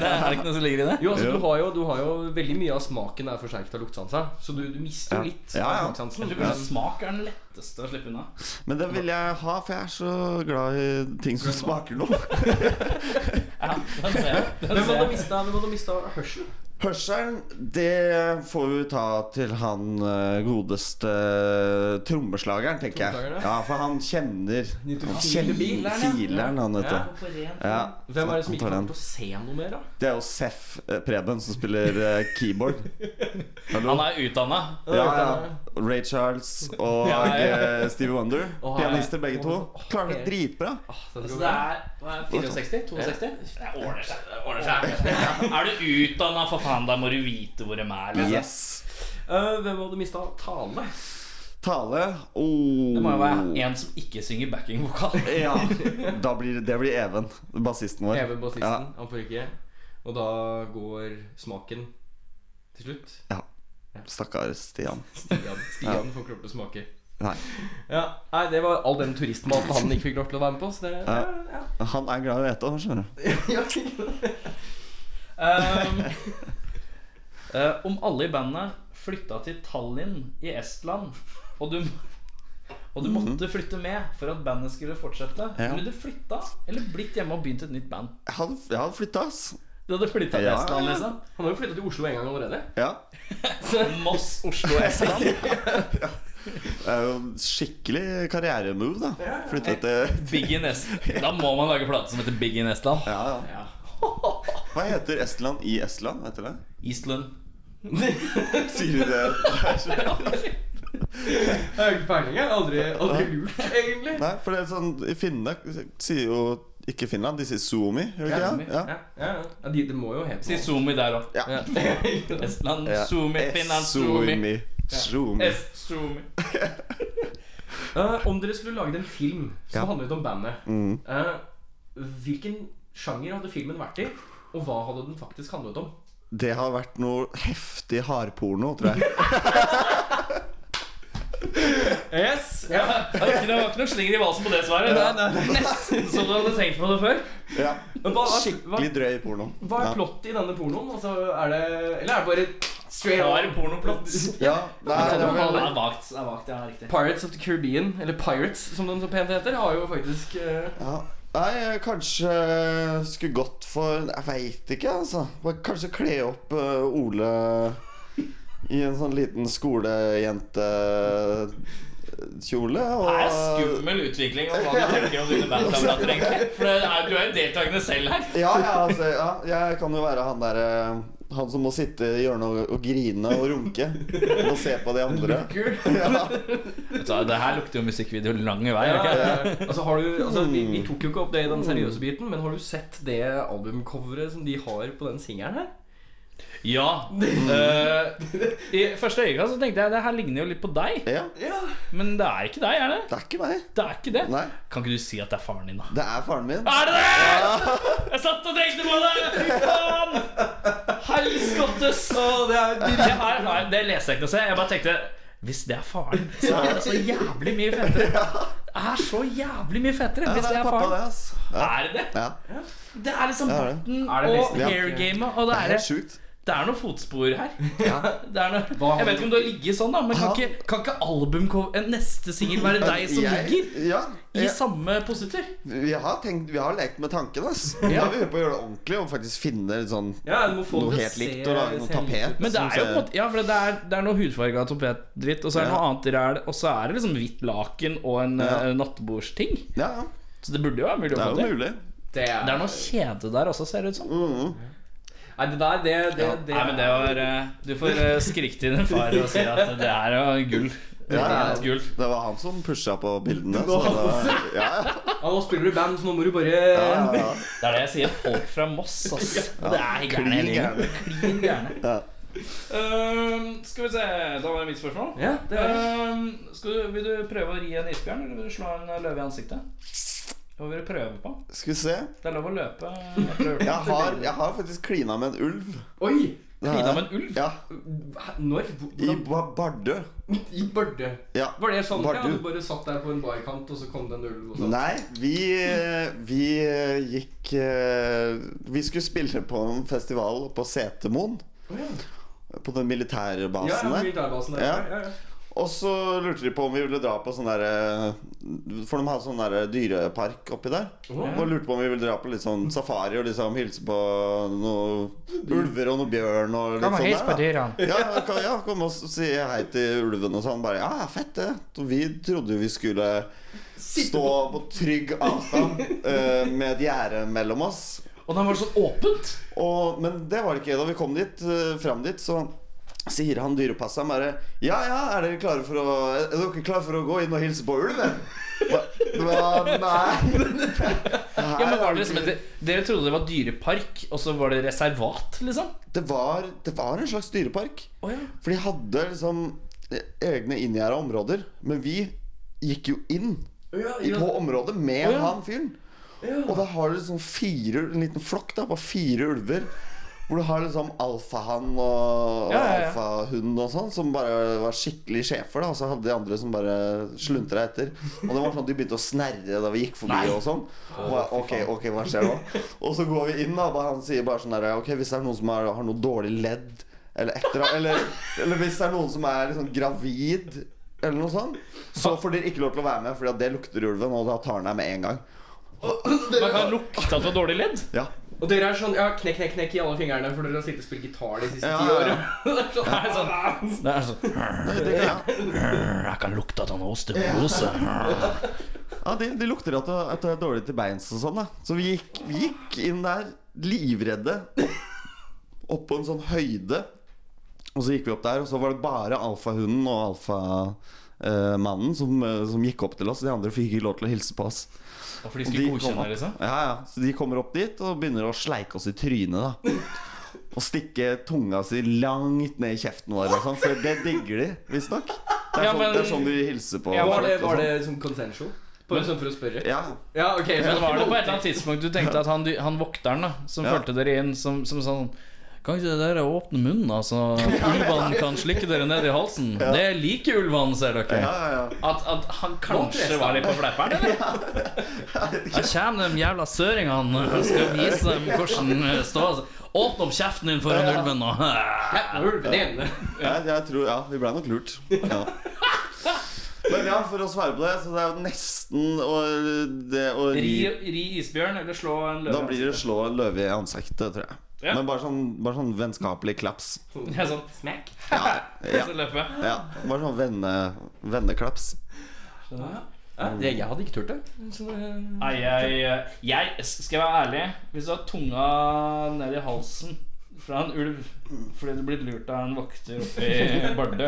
er det ikke noe som ligger i det? Jo, altså, du, har jo, du har jo veldig mye av smaken er forsterket av luktsansa, så du, du mister jo Ja. litt Ja, ja. av luktsansen. Jeg tror kanskje smak er den letteste å slippe unna. Men det vil jeg ha For jeg er så glad i ting som smaker noe Hvem hadde mista, hvem hadde mistet hørsel? [LAUGHS] Hørselen, det får vi ta til han eh, godeste eh, trommeslageren, tenker jeg. Trommeslageren, ja. Ja, for han kjenner Han kjenner fileren, han, vet du. Ja, Hvem er det så som han ikke kommer tar den. til å se noe mer, da? Det er jo Seff eh, Preben som spiller eh, keyboard. Hallo? Han er utdanna. Ja, ja. Ray Charles og Ja, ja. eh, Stevie Wonder. Å, ja. Pianister begge to. Klarer det dritbra. Ah, Så Altså, det er hva er det, 64? 62? Det ordner seg. Det ordner seg. Er du utdanna, for faen, da må du vite hvor de er. liksom. Yes. Eh, hvem hadde mista tale? Tale oh. Det må jo være en som ikke synger backingvokal. Ja. Da blir, det blir Even, bassisten vår. Even bassisten. Ja. Han får ikke. Og da går smaken til slutt. Ja. Stakkars Stian. Stian, Stian Ja. får kroppen smake. Nei. Ja, nei, det var all den turistmaten han ikke fikk lov til å være med på. Så det, Ja. Han er glad i å ete, han, skjønner du. Um, eh, om alle i bandet flytta til Tallinn i Estland, og du, og du måtte flytte med for at bandet skulle fortsette, Mhm. Ja. ville du flytta eller blitt hjemme og begynt et nytt band? Jeg hadde, jeg hadde flytta, ass. Du hadde flytta til Ja, Estland, ja. liksom? Han har jo flytta til Oslo en gang allerede. Ja. Moss, Oslo, Estland. Det er jo en skikkelig karrieremove, da. Flytte til Big in Estland. Da må man lage plate som heter Big in Estland. Ja, ja. Hva heter Estland i Estland? Heter det? Island. Sier du [LAUGHS] det? Jeg har ikke peiling. jeg. Aldri, aldri lurt, egentlig. Nei, for det er sånn I Finland sier jo ikke Finland, de sier Suomi, gjør de ikke det? Ja. Ja, ja, ja. Ja, de, det må jo hete Si Zoomi der òg. [LAUGHS] Estland, Ja. Zoomi, Finland, Zoomi. Suomi. Suomi. Est, Zoomi. Eh, om dere skulle laget en film som Ja. handlet om bandet, Mm. eh, hvilken sjanger hadde filmen vært i? Og hva hadde den faktisk handlet om? Det har vært noe heftig hardporno, [LAUGHS] tror jeg. Yes! Ja. Det var ikke noe- det var ikke noe slinger i valsen på det svaret. Nei, Nesten som du hadde tenkt på det før. Ja. Men hva, er- hva, Skikkelig drøy porno. hva er plottet i denne pornoen? Altså, er det, eller er det bare straight Rar on? pornoplott. Ja. Kan du Nei, det er ha vel Det er vagt. Det er vagt, ja, riktig. Pirates of the Caribbean, eller Pirates som den så pent heter, har jo faktisk eh, ja. Nei, jeg kanskje skulle gått for Jeg veit ikke, altså. Bare Kanskje kle opp eh, Ole i en sånn liten skolejentekjole. Og Det er skummel utvikling om hva du tenker om dine bandkamerater, egentlig. For det er, du er jo deltakende selv [LAUGHS] her. Ja, ja, altså, ja, jeg kan jo være han der eh, Han som må sitte i hjørnet og, og grine og runke. Og se på de andre. Ja. Vet du hva, Det her lukter jo musikkvideo lang vei. ja, ikke? ja. altså, har du, altså, vi, vi Hmm. tok jo ikke opp det i den seriøse biten, men har du sett det albumcoveret som de har på den singelen her? Ja. eh, I første øyekast så tenkte jeg det her ligner jo litt på deg. Ja. Men det er ikke deg, er det? Det er ikke meg. Det er ikke det. Nei, Kan ikke du si at det er faren din, da? det er faren min. Er det det?! Jeg satt og tenkte på det! Fy faen! Helskottes! det, er, Det, her, nei, det leser jeg ikke noe sted. Jeg bare tenkte Hvis det er faren, så er det så jævlig mye fetere. Det er så jævlig mye fetere Ja, hvis det er pappa, det, faren. ass. Ja. Er det det? Ja. Det er liksom Ja, det er det. barten Er det og nesten- Ja. hairgamet, og Det det er er det. helt sjukt. Det er noen fotspor her. Ja. [LAUGHS] Det er noe, Hva- jeg vet ikke om du har ligget sånn, da, men kan ikke, kan ikke album en neste singel være deg som Jeg- ligger Ja. i Jeg, samme positur? vi, har tenkt, vi har lekt med tanken, ass. Jeg vil på å gjøre det ordentlig og faktisk finne litt sånn Ja, du må få noe det helt til å likt. se- Og lage noe se likt tapet. Men det som er jo på en Sånn ser- måte Ja, for det er, det er noe hudfarga tapetdritt, og så er det Ja. noe annet ræl, og så er det liksom hvitt laken og en Ja. eh, nattbordsting. Ja, ja. Så det burde jo være mulig å det få er jo til. mulig. Mm. Det er, Det er noe kjede der også, ser det ut som. Nei, det der, det, det, det, Nei, men det var eh, Du får eh, skrike til din far og si at det er jo gull. Det Ja, er ja. et gull. Det var han som pusha på bildene. Så det var, ja, ja. Ja, nå spiller du i band, så nå må du bare Ja, ja, ja. Det er det jeg sier. Folk fra Moss, ass. Det er gærne hele gjengen. Klin gærne. Ja. Ehm, skal vi se Da var det mitt spørsmål. Ja, det er det. Ehm, skal du, vil du prøve å ri en isbjørn, eller vil du slå en løve i ansiktet? Hva vil du prøve på? Skal vi se. Det er lov å løpe. Klina Jeg har, jeg har faktisk klina med en ulv. Oi! Det har jeg. med en ulv? Ja, Hæ, Når? I Hvordan? Ba- Bardø. I Bardu. Ja. Var det sånn Bardu. at du bare satt der på en barkant, og så kom det en ulv? og sånn? Nei, vi, eh, vi eh, gikk eh, Vi skulle spille på en festival på Setermoen. Å, ja. På den militærbasen Ja, ja, der. militærbasen der. Ja. Ja, ja, ja. Og så lurte de på om vi ville dra på sånn der eh, For de hadde sånn der dyrepark oppi der. Åh. Og lurte på om vi ville dra på litt sånn safari og liksom hilse på noen ulver og noe bjørn og litt Kom og sånn hils på der, da. dyrene. Ja, kan, ja, kom og si hei til ulven og sånn. Bare ja, ja, fett det. Og vi trodde jo vi skulle stå på trygg avstand eh, med et gjerde mellom oss. Og den var så åpent! men det var det ikke. Da vi kom dit, eh, fram dit, så Sier han dyrepasseren bare Ja, ja, er dere klare for å Er dere klare for å gå inn og hilse på ulven? Hva? Hva? Nei [LAUGHS] Ja, men var det liksom, et- dere trodde det var dyrepark, og så var det reservat, liksom? Det var, det var en slags dyrepark. For de hadde liksom egne inngjerda områder. Men vi gikk jo inn ja. i- på området med Å, ja. han fyren. Og da har du liksom fire, en liten flokk da på fire ulver. Hvor du har liksom alfahann og, og Ja, ja, ja. alfahund og sånn, som bare var skikkelig sjefer. da Og så hadde de andre som bare sluntra etter. Og det var sånn at de begynte å snerre da vi gikk forbi Nei. og sånn. Og bare, ok, ok, hva skjer nå? Og så går vi inn, da, og han sier bare sånn der Ok, hvis det er noen som har, har noe dårlig ledd, eller et eller annet eller, eller hvis det er noen som er liksom gravid, eller noe sånt, så får dere ikke lov til å være med, Fordi at det lukter ulven, og da tar den deg med en gang. Man kan lukte at du har dårlig ledd. Ja. Og dere er sånn ja, knekk, knekk, knekk i alle fingrene, for dere har sittet og spilt gitar de siste Ja, ti ja, åra. ja. det er sånn, det er sånn. Det er sånn Jeg kan lukte at han har osteoporose. Ja, de, de lukter at det- at det er dårlig til beins og sånn, da. Så vi gikk, vi gikk inn der livredde. Opp på en sånn høyde. Og så gikk vi opp der, og så var det bare alfahunden og alfamannen som, eh, som gikk opp til oss. De andre fikk ikke lov til å hilse på oss. Ja, for de skulle Og godkjenne kom opp- liksom? Ja, ja. Så de kommer opp dit og begynner å sleike oss i trynet, da. Og stikke tunga si langt ned i kjeften vår, og sånn, for det digger de, visstnok. Det, er Ja, sånn- men- det er sånn de hilser på. ja, var, folk det, og var det sånn. sånn consensual? Bare Men- sånn for å spørre? Ja. ja ok så Men var det på et eller voldtekt. annet tidspunkt du tenkte at han, han vokteren da som Ja. fulgte dere inn, som, som sa sånn Kan ikke dere åpne munnen, altså? [LAUGHS] Ulvene kan slikke dere ned i halsen. Det liker ulvene, ser dere. Ja, ja, At, at han kanskje Voldtekt. var litt på fleiperen, eller? [LAUGHS] Da kommer de jævla søringene og skal vise dem hvordan det står. Åpne opp kjeften din foran ulven og Ja, jeg tror, ja, vi ble nok lurt. Ja. Men ja, for å svare på det, så det er jo nesten å, det, å Ri, ri ri isbjørn eller slå en løve. Da blir det slå en løve i ansiktet, tror jeg. Ja. Men bare sånn, bare sånn vennskapelig klaps. Ja, sånn smack. Ja. Og så løpe. Ja, bare sånn venne, venneklaps. Ja, det- jeg hadde ikke turt det. Nei, jeg, jeg Skal jeg være ærlig Hvis du har tunga ned i halsen fra en ulv fordi du er blitt lurt av en vokter oppe i Bardu,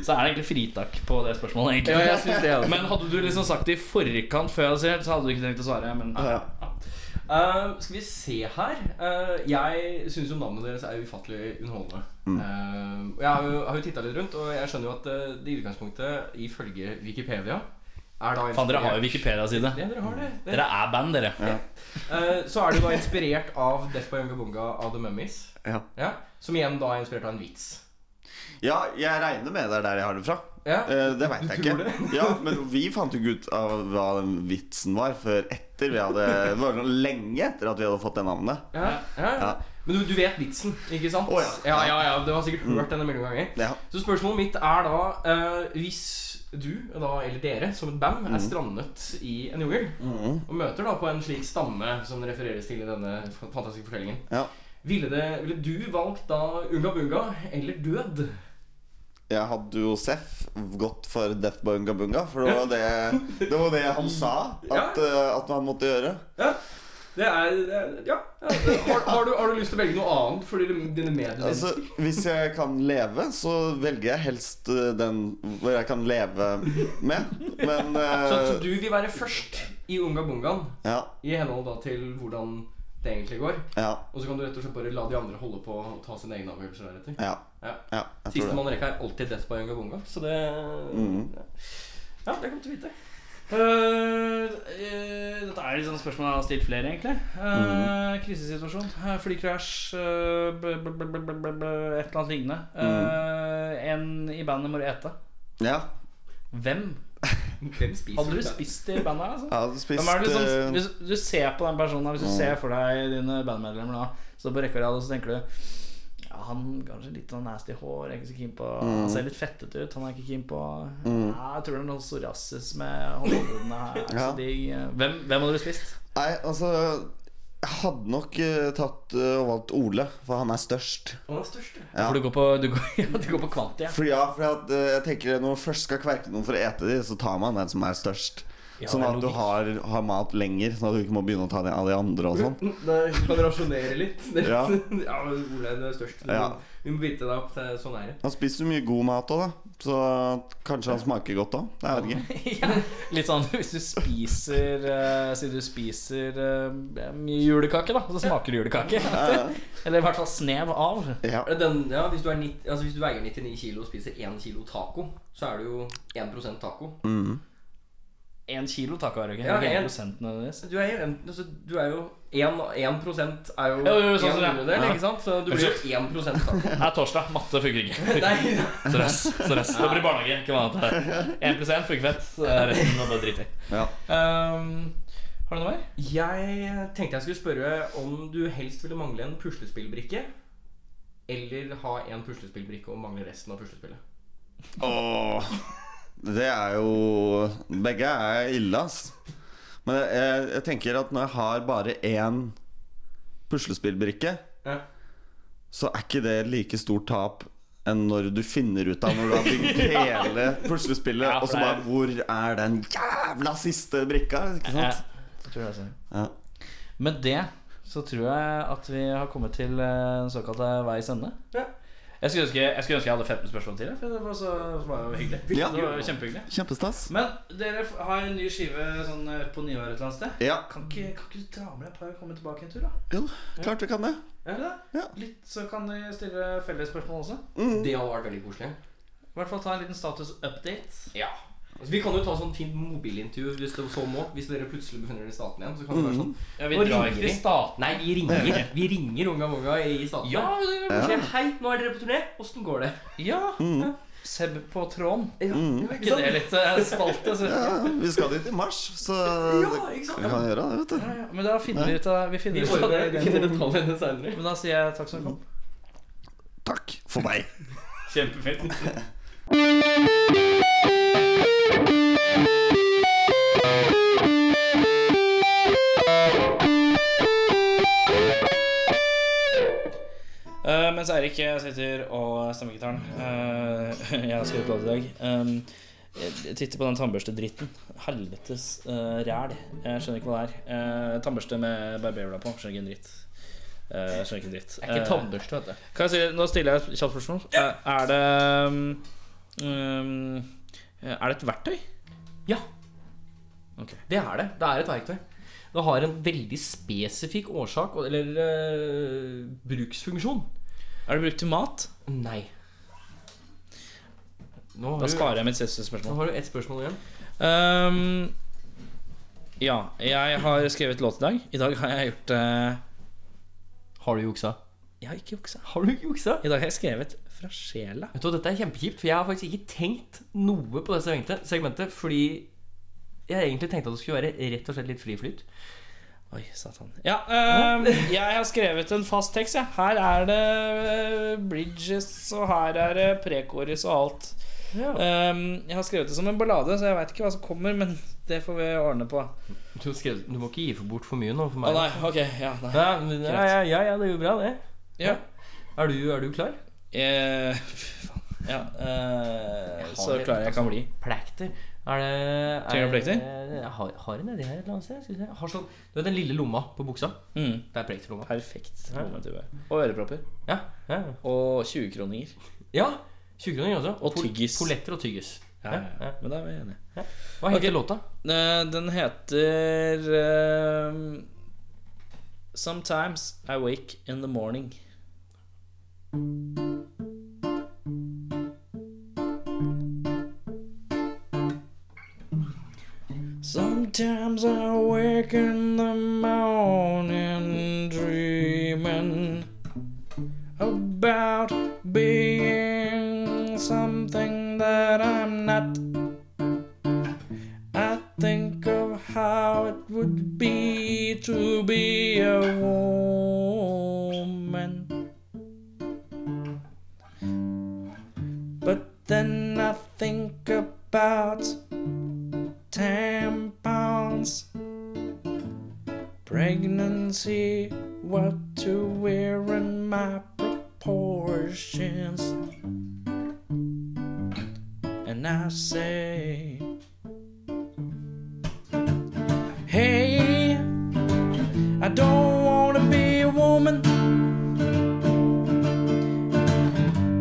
så er det egentlig fritak på det spørsmålet. egentlig Ja, jeg synes det, altså. Men hadde du liksom sagt det i forkant før jeg hadde sagt det, så hadde du ikke trengt å svare. Men Eh, skal vi se her Eh, Jeg syns jo navnet deres er ufattelig underholdende. Eh, og jeg har jo, har jo titta litt rundt, og jeg skjønner jo at eh, det i utgangspunktet, ifølge Wikipedia er da Faen, dere har jo Wikipedia-side. Ja, dere har det. Det- Dere er band, dere. Eh, så er det da inspirert av Death by Yunga Bunga av The Mummies. Ja. Som igjen da er inspirert av en vits. Ja, jeg regner med det er der jeg har det fra. Eh, det veit jeg ikke. Ja, Men vi fant jo ikke ut av hva den vitsen var før etter vi hadde Det var sånn lenge etter at vi hadde fått det navnet. Ja, ja. Men du, du vet vitsen, ikke sant? Å, ja. Mm. Ja, ja, ja, Du har sikkert hørt denne mange ganger. Ja. Så spørsmålet mitt er da eh, Hvis du, da, eller dere, som et band, Mhm. er strandet i en jungel Mm. Mhm. og møter da på en slik stamme som det refereres til i denne f- fantastiske fortellingen Ja. ville, det, ville du valgt da Unga Bunga eller død? Jeg hadde jo Seff gått for Death by Unga Bunga, for det var det, det, var det han sa at, eh, at man måtte gjøre. Det er, det er Ja. Har, har, du, har du lyst til å velge noe annet fordi det- dine medmennesker Altså, hvis jeg kan leve, så velger jeg helst eh, den hvor jeg kan leve med. Men eh, Så, så du vil være først i Unga Bungaen ja, i henhold da til hvordan det egentlig går? ja, Og så kan du rett og slett bare la de andre holde på og ta sine egne avgjørelser deretter? ja, Ja. ja jeg tror det. Sistemann i rekka er alltid Death by Unga Bunga, så det Mhm. Ja, det kommer du til å vite. Øh, øh, dette er liksom spørsmål jeg har stilt flere, egentlig. Øh, krisesituasjon. øh, Flykrasj. øh, bl- bl- bl- bl- bl- bl- Et eller annet lignende. Øh, en i bandet må du ete. Ja. Hvem? Hvem spiser Hadde du det? spist det i bandet? Altså? Jeg hadde spist Hvem er det eh, liksom, hvis du ser på den personen, her, hvis du Mm. ser for deg dine bandmedlemmer, da, så på rekke og rad, og så tenker du ja, han kanskje litt sånn nasty hår. Jeg er ikke så keen på Mm. Han ser litt fettet ut. Han er ikke keen på Mm. ja, Jeg tror det er noe psoriasis med hårhodene her. er ikke Ja. Så de, hvem, hvem hadde du spist? Nei, altså Jeg hadde nok eh, tatt eh, og valgt Ole, for han er størst. Han er størst, ja. Ja. For du går på, du går, [LAUGHS] ja, du går på kvanti, ja. For ja, for at, eh, jeg tenker Når man først skal kverke noen for å ete dem, så tar man den som er størst. Ja, sånn det er at du logikk. har, har mat lenger, sånn at du ikke må begynne å ta de, alle de andre og sånn. Mm. Nei, kan rasjonere litt. ja. [LAUGHS] Ja. ja, men Ole er størst. Ja. Vi må bite deg opp til sånn er det. Han spiser jo mye god mat òg, da. Så kanskje han smaker godt òg. Jeg vet ikke. Litt sånn hvis du spiser eh, Si du spiser eh, mye julekake, da, så smaker det julekake. Ja, ja. [LAUGHS] Eller i hvert fall snev av. Er det Den, ja, hvis, du er 90, altså hvis du veier 99 kilo og spiser 1 kilo taco, så er du jo 1 taco. Mm. Én kilo taco er det ikke? Ja, Ikke en- 1% nødvendigvis. Du er jo, en, altså, du er jo 1, 1 er jo Jo, jo, jo, sånn en som det er. hundredel, Ja. ikke sant? Så du blir jo 1 taco. [LAUGHS] Det er torsdag. Matte funker ikke. [LAUGHS] Nei. Stress. stress. Det blir barnehage. Ikke hva annet. 1 funker fett. så er Resten må bare drite i. Ja. Ehm, har du noe mer? Jeg tenkte jeg skulle spørre om du helst ville mangle en puslespillbrikke, eller ha en puslespillbrikke og mangle resten av puslespillet. Åh, det er jo Begge er ille, ass. Men jeg, jeg, jeg tenker at når jeg har bare én puslespillbrikke, Ja. så er ikke det like stort tap enn når du finner ut av når du har bygd hele puslespillet, Ja, for og så det er- bare Hvor er den jævla siste brikka? Ikke Ja, sant? jeg tror det er sånn. Ja. Med det så tror jeg at vi har kommet til eh, den såkalte veis ende. Ja. Jeg skulle, ønske, jeg skulle ønske jeg hadde 15 spørsmål til. jeg, For det var så det var jo hyggelig. Ja. Det var jo kjempehyggelig Kjempestas. Men dere f- har en ny skive sånn eh, på nyåret et eller annet sted. Ja. Kan, ikke, kan ikke du dra med deg et par og komme tilbake en tur, da? Jo, klart vi kan det. Er det det? Litt, så kan vi stille fellesspørsmål også. Det hadde vært veldig koselig. I hvert fall ta en liten status update. Ja. Altså, vi kan jo ta sånn fint mobilintervju hvis det så må. Hvis dere plutselig befinner dere i staten igjen. Så kan det være sånn Ja, vi Nå drar ringer ikke vi. til staten. Nei, vi ringer. Vi ringer Unga Monga i staten. Ja, det er koselig. Ja. Hei, nå er dere på turné. Åssen går det? Ja. Seb på tråden. Er Ikke ikke det litt eh, spalte? Så. Ja, vi skal dit i mars, så det vi kan gjøre det, vet du. Ja, Men da finner vi ut av Vi finner Vi ut av ordner- det. vi finner detaljene senere. Men da sier jeg takk som kom. Takk for meg. Kjempefint. Eh, mens Eirik eh, sitter og stemmegitaren eh, [LAUGHS] Jeg har skrevet låt i dag. Um, jeg titter på den tannbørstedritten. Helvetes eh, ræl. Jeg skjønner ikke hva det er. Eh, tannbørste med barberblad på. Skjønner ikke en dritt. Eh, skjønner ikke en dritt. Det er ikke Eh, tannbørste, vet du. kan jeg si, nå stiller jeg et kjapt spørsmål. Er- Er det um, Er det et verktøy? Ja. Det er det. Det er et verktøy. Det har en veldig spesifikk årsak, og- eller eh, bruksfunksjon. Er det brukt til mat? Nei. Nå Da du- sparer jeg mitt siste Nå spørsmål. har du ett spørsmål igjen. Um, ja, jeg har skrevet låt i dag. I dag har jeg gjort eh, Har du juksa? Jeg har ikke juksa. Har du ikke juksa? I dag har jeg skrevet fra sjela. Vet du, hva, Dette er kjempekjipt, for jeg har faktisk ikke tenkt noe på det segmentet, segmentet fordi jeg egentlig tenkte at det skulle være rett og slett litt fri flyt. Oi, satan. Ja, ehm, jeg har skrevet en fast tekst, jeg. Her er det eh, bridges, og her er det prekoris og alt. Eh, Ehm, jeg har skrevet det som en ballade, så jeg veit ikke hva som kommer, men det får vi ordne på. Du, skrev, du må ikke gi for bort for mye nå for Å meg. nei, ok, ja, nei. Ja, men- ja, ja, ja, ja, det er jo bra, det. Ja. Er du, er du klar? Eh, fy faen. ja eh, så klar jeg kan bli. Plekter. Er det er, Trenger du plekter? Jeg har, har en nedi her et eller annet sted. Skal vi se. Jeg Har sånn, du vet den lille lomma på buksa? Mm. Det er plekterlomma. Perfekt. Ja. lommetue. Og ørepropper. Ja, ja. Og 20-kroninger. ja 20-kroninger også. Og tyggis. Poletter og tyggis. Ja, ja, ja. Men da er vi enige. Hva heter Ok. låta? Eh, Den heter eh, Sometimes I wake in the morning. Sometimes I wake in the morning dreaming about being something that I'm not. I think of how it would be to be a woman. Pregnancy, what to wear and my proportions. And I say, Hey, I don't want to be a woman.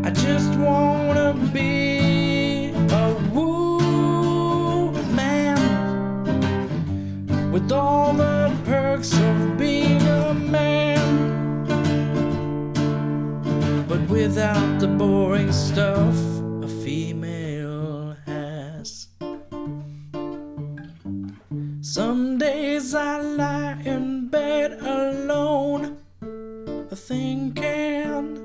I just want to be a woman with all the perks of being a man, but without the boring stuff a female has. Some days I lie in bed alone. Thinking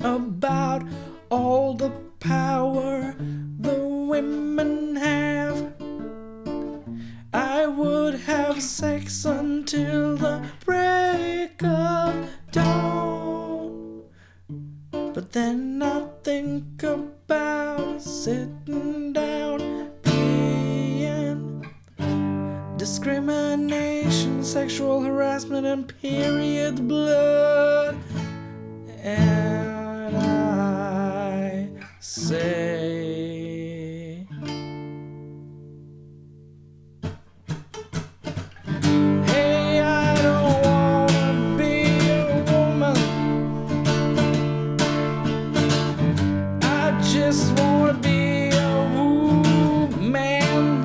about all the power the women have. I would have sex until the break of dawn. But then I think about sitting down, being discrimination, sexual harassment, and period blood. And I say, Hey, I don't wanna be a woman. I just wanna be a woman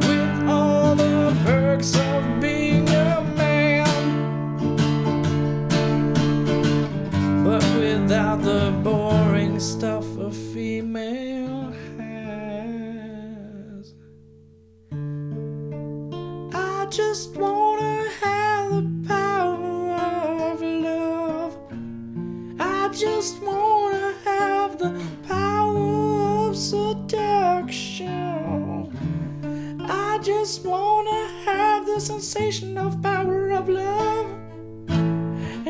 with all the perks of being a man, but without the boring stuff a female has. I just wanna have the power of love. I just wanna have the power of seduction. I just wanna have the sensation of power of love.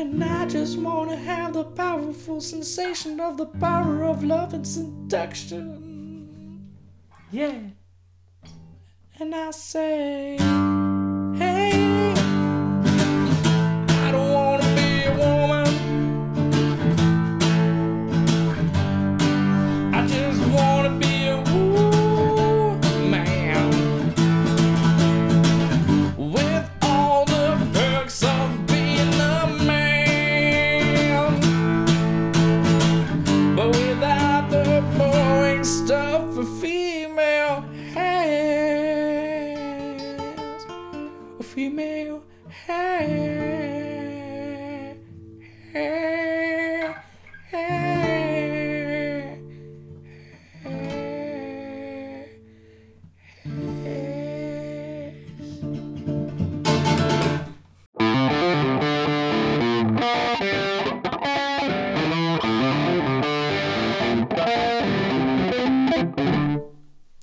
And I just wanna have the powerful sensation of the power of love and seduction. Yeah. And I say, hey, I don't wanna be a woman. I just wanna be a woman. With all the perks of being a man. But without the boring stuff a female has. A female has.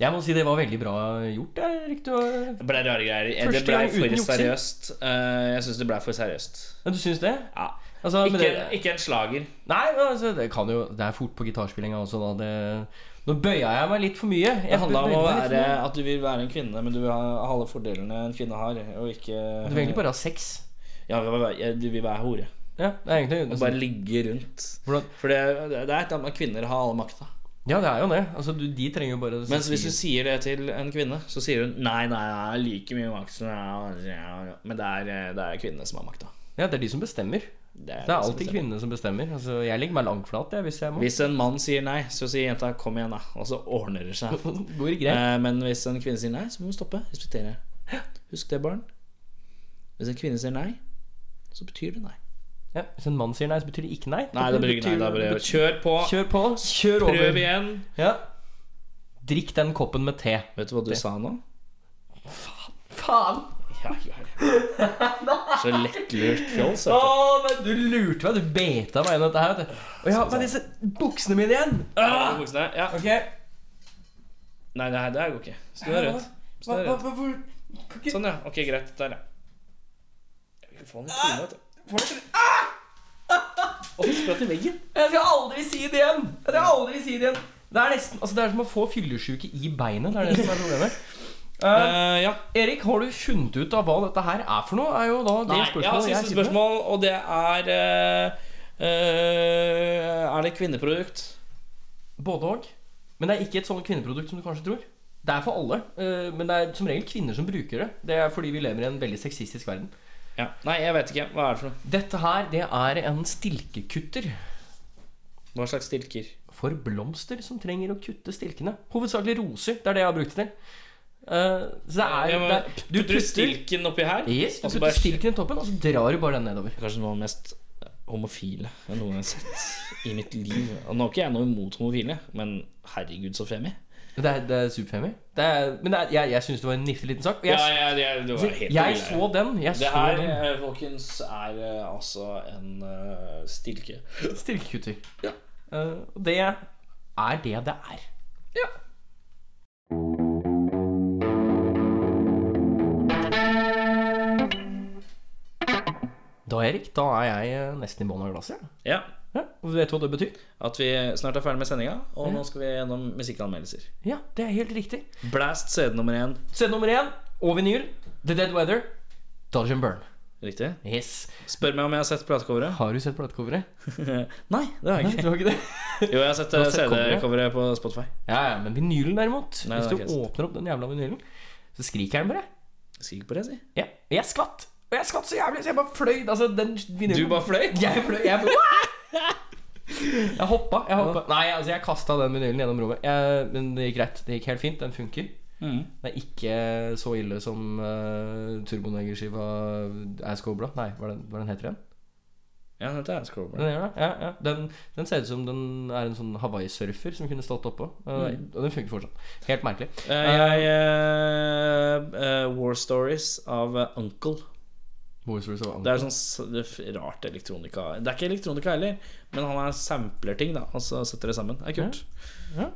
Jeg må si det var veldig bra gjort. Det er riktig å- Det ble rare greier. Eh, Det Første ble gang uten for juksing. seriøst. Eh, Jeg syns det ble for seriøst. Ja, du syns det? Ja. Altså, men ikke, det- ikke en slager. Nei, men altså, det kan jo Det er fort på gitarspillinga også, da. Det, nå bøya jeg meg litt for mye. Jeg Det handla om å bøyde meg litt for Altså, være mye. at du vil være en kvinne, men du vil ha alle fordelene en kvinne har. Og ikke Du vil egentlig bare ha sex. Ja, du vil være- du vil være hore. Ja, det er egentlig Og bare ligge rundt. For det, det er et eller annet med at kvinner har all makta. Ja, det er jo det. Altså, du, de trenger jo bare å Mens si- hvis du sier det til en kvinne, så sier hun nei, nei, jeg har like mye makt som jeg har». Men det er, eh, det er kvinnene som har makta. Ja, det er de som bestemmer. Det er Det de er som alltid bestemmer. kvinnene som bestemmer. Altså, jeg legger meg langflat jeg, hvis jeg må. Hvis en mann sier nei, så sier jenta 'kom igjen', da. Og så ordner det seg. Går [LAUGHS] det [LAUGHS] greit? Eh, Men hvis en kvinne sier nei, så må hun stoppe. Respektere. Husk det, barn. Hvis en kvinne sier nei, så betyr det nei. Ja, hvis en mann sier nei, så betyr det ikke nei. Nei, da betyr det nei. Da bare kjør på. Kjør på. Kjør over. Prøv igjen. Ja. Drikk den koppen med te. Vet du hva du sa nå? Faen! Ja, ja, Så lettlurt fjols. Å, men du lurte meg. Du beta meg inn i dette her. vet du. Og jeg har Sånn, på meg disse buksene mine igjen. Ah! Ja. Ok. Nei, det her det her går ikke. Snø rødt. Snø Hva- hva- rødt. hva- hvor- Sånn, ja. Ok, greit. Der, ja. Jeg vil få den i trynet, vet du. Og så spratt i veggen. Jeg skal aldri si det igjen! [LAUGHS] Jeg skal aldri si det igjen Det er nesten, altså det er som å få fyllesyke i beinet. Det er det som er problemet. Eh, Erik, har du funnet ut av hva dette her er for noe? Er jo da det Nei, jeg har spørsmålet siste sitter med. spørsmål, og det er eh, eh, Er det kvinneprodukt? Både og. Men det er ikke et sånt kvinneprodukt som du kanskje tror. Det er for alle, eh, men det er som regel kvinner som bruker det. Det er fordi vi lever i en veldig sexistisk verden. Nei, jeg vet ikke. Hva er det for noe? Dette her, det er en stilkekutter. Hva slags stilker? For blomster som trenger å kutte stilkene. Hovedsakelig roser. Det er det jeg har brukt det til. Eh, så det er, Ja, men det er putter du stilken oppi her? Yes, du Og så putter bare- stilken i toppen, og så drar du bare den nedover. Kanskje noe av det mest homofile jeg noen gang har sett i mitt liv. Og nå har ikke jeg noe imot homofile, men herregud, så femi. Det er, det er superfemi. Det er, men det er, jeg, jeg syns det var en nifty liten sak. Og Jeg, Ja, ja, det- det var helt jeg vild, så den. Jeg det så her, den. eh, folkens, er eh, altså en eh, stilke. Stilkekutter. Eh, og det er det det er. Da, Erik, da er jeg eh, nesten i bånn av glasset. jeg. Ja. og Vet du hva det betyr? At vi snart er ferdig med sendinga, og Ja. nå skal vi gjennom musikkanmeldelser. Ja, det er helt riktig. Blast CD nummer én. CD nummer én og vinyl. The Dead Weather. Dodge and Burn. Riktig. Yes. Spør meg om jeg har sett platecoveret. Har du sett platecoveret? Nei, det har jeg Nei, ikke. du har ikke [LAUGHS] det? Jo, jeg har sett Du har eh, sett coveret? CD-coveret på Spotify. Ja, ja, men vinylen derimot Nei, det har Hvis du jeg ikke sett. åpner opp den jævla vinylen, så skriker den på deg. Skriker på deg, si. Ja. Og jeg skvatt. Og jeg skvatt så jævlig, så jeg bare fløy. Altså, den vinylen Du bare fløy? Jeg fløy. Jeg, bare, jeg hoppa. Jeg hoppa. Nei, altså, jeg kasta den vinylen gjennom rommet. Jeg, men det gikk greit. Det gikk helt fint. Den funker. Mhm. Det er ikke så ille som uh, turbonegerskiva Ass Cobra. Nei, hva er den, hva er den heter den? Ja, den heter Ass Cobra. Den, gjør det, ja, ja. den, den ser ut som den er en sånn Hawaii-surfer som kunne stått oppå. Eh, Mhm. Og den funker fortsatt. Helt merkelig. Eh, jeg eh, eh, War Stories av eh, Uncle. Det er sånn s- det f- rart elektronika Det er ikke elektronika heller, men han er sampler ting, da. Og så setter det sammen. Det er kult. Ja.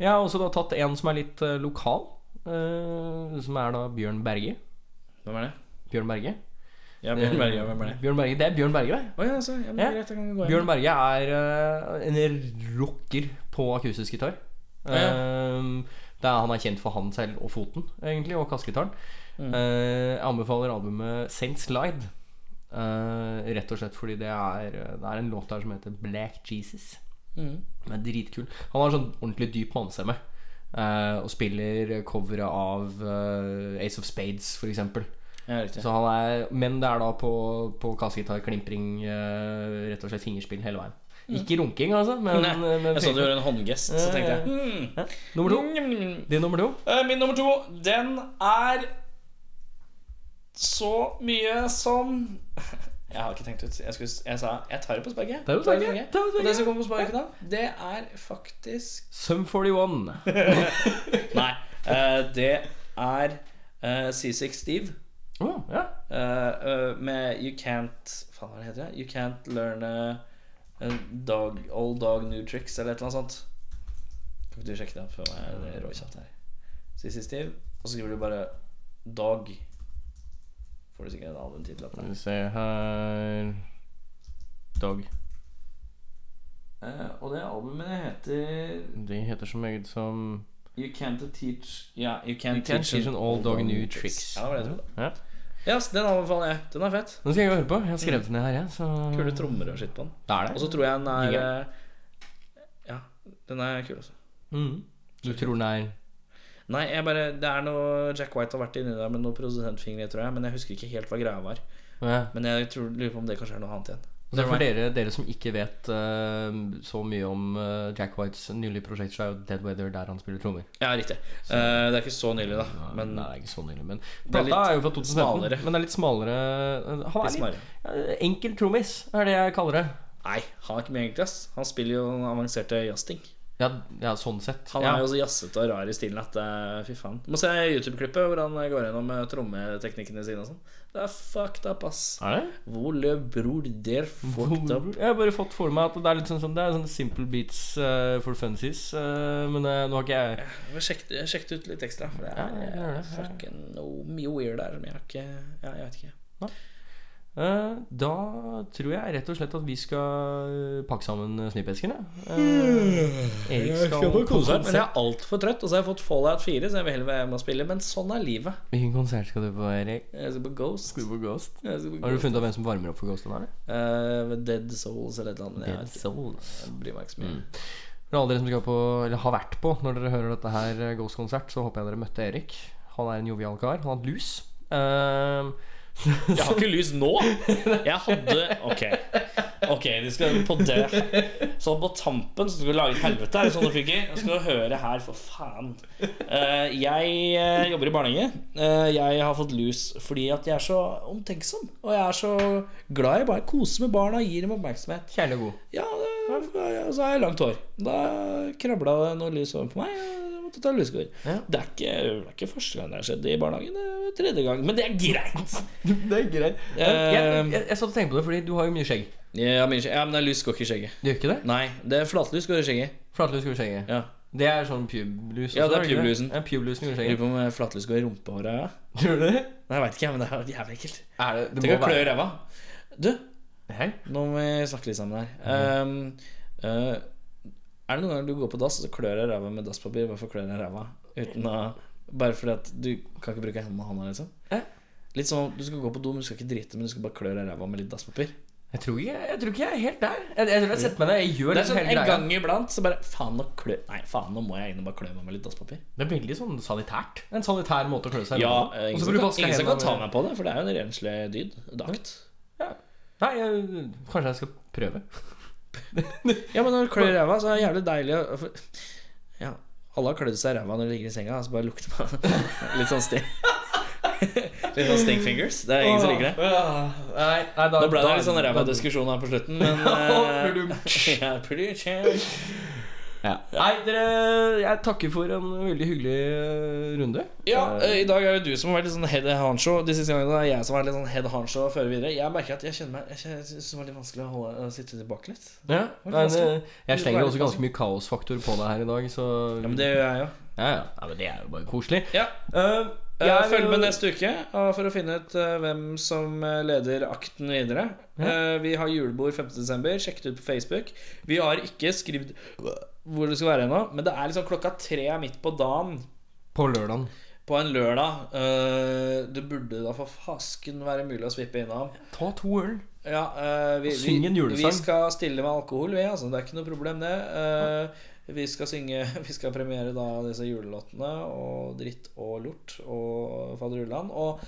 Jeg har også da tatt en som er litt eh, lokal. eh, som er da Bjørn Berge. Hvem er det? Bjørn Berge. Ja, Um, Bjørn Berge, ja, hvem er det? Bjørn Berge, Det er Bjørn Berge, det. Å, ja, så, ja, men det er greit, da kan vi gå Bjørn igjen. Berge er eh, en rocker på akustisk gitar. Ja, ja. Eh, det er, han er kjent for han selv og foten, egentlig, og kassegitaren. Mm. Eh, jeg anbefaler albumet Saint Slide. eh, rett og slett fordi det er, det er en låt der som heter Black Jesus. Mm. Den er dritkul. Han har sånn ordentlig dyp mannestemme. eh, og spiller coveret av eh, Ace of Spades, for eksempel. Ja, riktig. Så han er, men det er da på, på kassegitar, klimpring, eh, rett og slett fingerspill hele veien. Mm. Ikke runking, altså. Men, Nei, men jeg så du gjorde en håndgest, så tenkte jeg, Eh, Ja, ja, hmm. ja. Nummer to. Din nummer to. Eh, Min nummer to, den er så mye som [LAUGHS] Jeg har ikke tenkt ut. Jeg, skulle, jeg sa jeg tar det på sparket. Det er jo Tar det sparket, på det er jo Og det sparket. som kommer på sparket da, det er faktisk Sum 41. Nei. [LAUGHS] eh, det er eh, C6 Steve. ja. Eh, eh, med You Can't Faen, hva heter det? You Can't Learn a, a dog, Old Dog New Tricks, eller et eller annet sånt. Kan ikke du sjekke det opp for meg? Det er råkjapt her. CC Steve. Og så skriver du bare Dog. Får du sikkert en albumtittel opp Skal der. vi se her Dog. Eh, og det albumet heter De heter så meget som You Can't Teach Ja, You You Can't, can teach an old dog new tricks. Ja, det var det jeg trodde. Ja. Ja, så den anbefaler jeg. Den er fett. Nå skal jeg gå og høre på. Jeg har skrevet Mm. den ned her, jeg. Så... Kule trommer og skitt på den. Det er det. Og så tror jeg den er Digger den. eh, Ja, den er kul, altså. Mhm. Du tror den er Nei, jeg bare, det er noe Jack White har vært inni der med noen produsentfingre, tror jeg. Men jeg husker ikke helt hva greia var. Ja. Men jeg tror, lurer på om det kanskje er noe annet igjen. Og så For dere, dere som ikke vet eh, så mye om eh, Jack Whites nylige prosjekt, så er jo Dead Weather der han spiller trommer. Ja, riktig. Eh, det er ikke så nylig, da. Men Nei, det er ikke så nylig, men Det er Plata er, litt jo fra 2015, smalere. men det er litt smalere. Han er Litt litt, smalere. eh, enkel trommis, er det jeg kaller det. Nei, han er ikke med egentlig, ass. Han spiller jo avanserte jazzting. Ja, ja sånn sett. Han ja. er jo så jazzete og rar i stilen at det er Fy faen. Du må se YouTube-klippet hvor han går gjennom eh, trommeteknikkene sine og sånn. Det er fucked up, ass. Er det? Vole bror, der fucked up. Jeg har bare fått for meg at det er litt sånn, sånn Det er sånn simple beats eh, for funsies, eh, men eh, nå har ikke jeg Jeg må sjekke det- sjekke det ut litt ekstra. For det Ja, er gjør det. fucking noe mye weird der som jeg har ikke Ja, jeg vet ikke. Eh, Da tror jeg rett og slett at vi skal eh, pakke sammen snippeskene. Eh, Erik Jeg skal på konsert, men jeg konsert. er altfor trøtt. Og så har jeg fått Fallout 4, så jeg vil heller være med og spille. Men sånn er livet. Hvilken konsert skal du på, Erik? Jeg skal på Ghost. Skal du på Ghost? Jeg skal på Har du Ghost. funnet ut hvem som varmer opp for Ghost? Eller? Eh, Dead Souls eller et eller annet. Men jeg, Dead Mm. vet ikke. jeg bryr meg ikke så mye. For alle dere som skal på, eller har vært på når dere hører dette her eh, Ghost-konsert, så håper jeg dere møtte Erik. Han er en jovial kar. Han har hatt lus. Ehm, Jeg har ikke lys [LAUGHS] nå! Jeg hadde Ok, Ok, de skal på det. Så på tampen så skulle du lage et helvete her. Sånn du fikk i. Jeg skal du høre her, for faen. Eh, jeg eh, jobber i barnehage. Eh, jeg har fått lus fordi at jeg er så omtenksom. Og jeg er så glad i bare å kose med barna, gir dem oppmerksomhet. Kjærlig og god. Ja, det- og så har jeg langt hår. Da krabla det noe lys over på meg. og jeg måtte ta lusekår. Det, er ikke, det er ikke første gang det har skjedd i barnehagen. Det er tredje gang. Men det er greit. [LAUGHS] det er greit. Jeg, jeg, jeg, jeg satt og tenkte på det, fordi du har jo mye skjegg. Ja, men, ja, men det er lys går ikke i skjegget. Det gjør ikke det? Nei, det er flatlys går i skjegget. Flatlus går i skjegget. Ja. Det er sånn pube-lus. Ja, det er publusen. Ja, publusen går i Lurer skjegget. på om eh, flatlys går i rumpehåra. Ja. Tror du det? Nei, jeg veit ikke, men det er jævlig ekkelt. Er det, det Tenk må å klø i være ræva. Du, Hei. nå må vi snakke litt sammen her. Mm. Um, eh, er det noen ganger du går på dass og så klør deg i ræva med dasspapir? Hvorfor klør deg i ræva? Uten å Bare fordi at du kan ikke bruke hendene og hånda, liksom? Litt sånn at du skal gå på do, men du skal ikke drite, men du skal bare klø deg i ræva med litt dasspapir. Jeg tror ikke jeg, tror ikke jeg er helt der. Jeg, jeg tror jeg setter meg ned. Jeg gjør Det er liksom sånn hele en greia. gang iblant så bare Faen, nå klø Nei, faen, nå må jeg inn og bare klø meg med litt dasspapir. Det er veldig sånn sanitært. En sanitær måte å klø seg i Ja, ræva på. eh, Og ingen så som får du kan, vaske ingen som kan hendene ta med- meg på det, for det er jo en renslig dyd. Det er akt. Nei, jeg, kanskje jeg skal prøve. Ja, men når du klør i ræva, så er det jævlig deilig å for- Ja, alle har klødd seg i ræva når de ligger i senga, og så bare lukter man [LAUGHS] litt sånn stink. [LAUGHS] Litt sånn stink fingers. Det er ingen som liker det. Nei, nei, da, Nå ble det da- litt sånn da- ræva diskusjon her på slutten, [LAUGHS] men Ja, eh, [LAUGHS] ja, pretty chill. Nei, dere, jeg takker for en veldig hyggelig eh, runde. Ja, Eh, eh, I dag er det du som har vært litt sånn head honcho. De siste gangene er det jeg som har vært litt sånn head honcho og fører videre. Jeg merker at jeg kjenner meg Jeg kjenner- jeg synes det var litt vanskelig å, holde, å sitte tilbake litt. ja. Det var litt Men, vanskelig. eh, jeg slenger også ganske mye kaosfaktor på deg her i dag, så Ja, men det gjør jeg jo. Ja, ja. Nei, men det er jo bare koselig. Ja. Eh, Eh, jeg Følg vil- med neste uke og for å finne ut eh, hvem som eh, leder akten videre. Eh, Vi har julebord 15.12. Sjekk det ut på Facebook. Vi har ikke skrevet hvor det skal være ennå, men det er liksom klokka tre midt på dagen På lørdagen. på en lørdag. Eh, Det burde da for fasken være mulig å svippe innom. Ta to øl. Ja, eh, vi, Og syng en vi- julesang. Vi skal stille med alkohol, vi. Altså, det er ikke noe problem, det. Eh, vi skal synge [LAUGHS] Vi skal premiere da disse julelåtene og Dritt og Lort og Faderullan. Og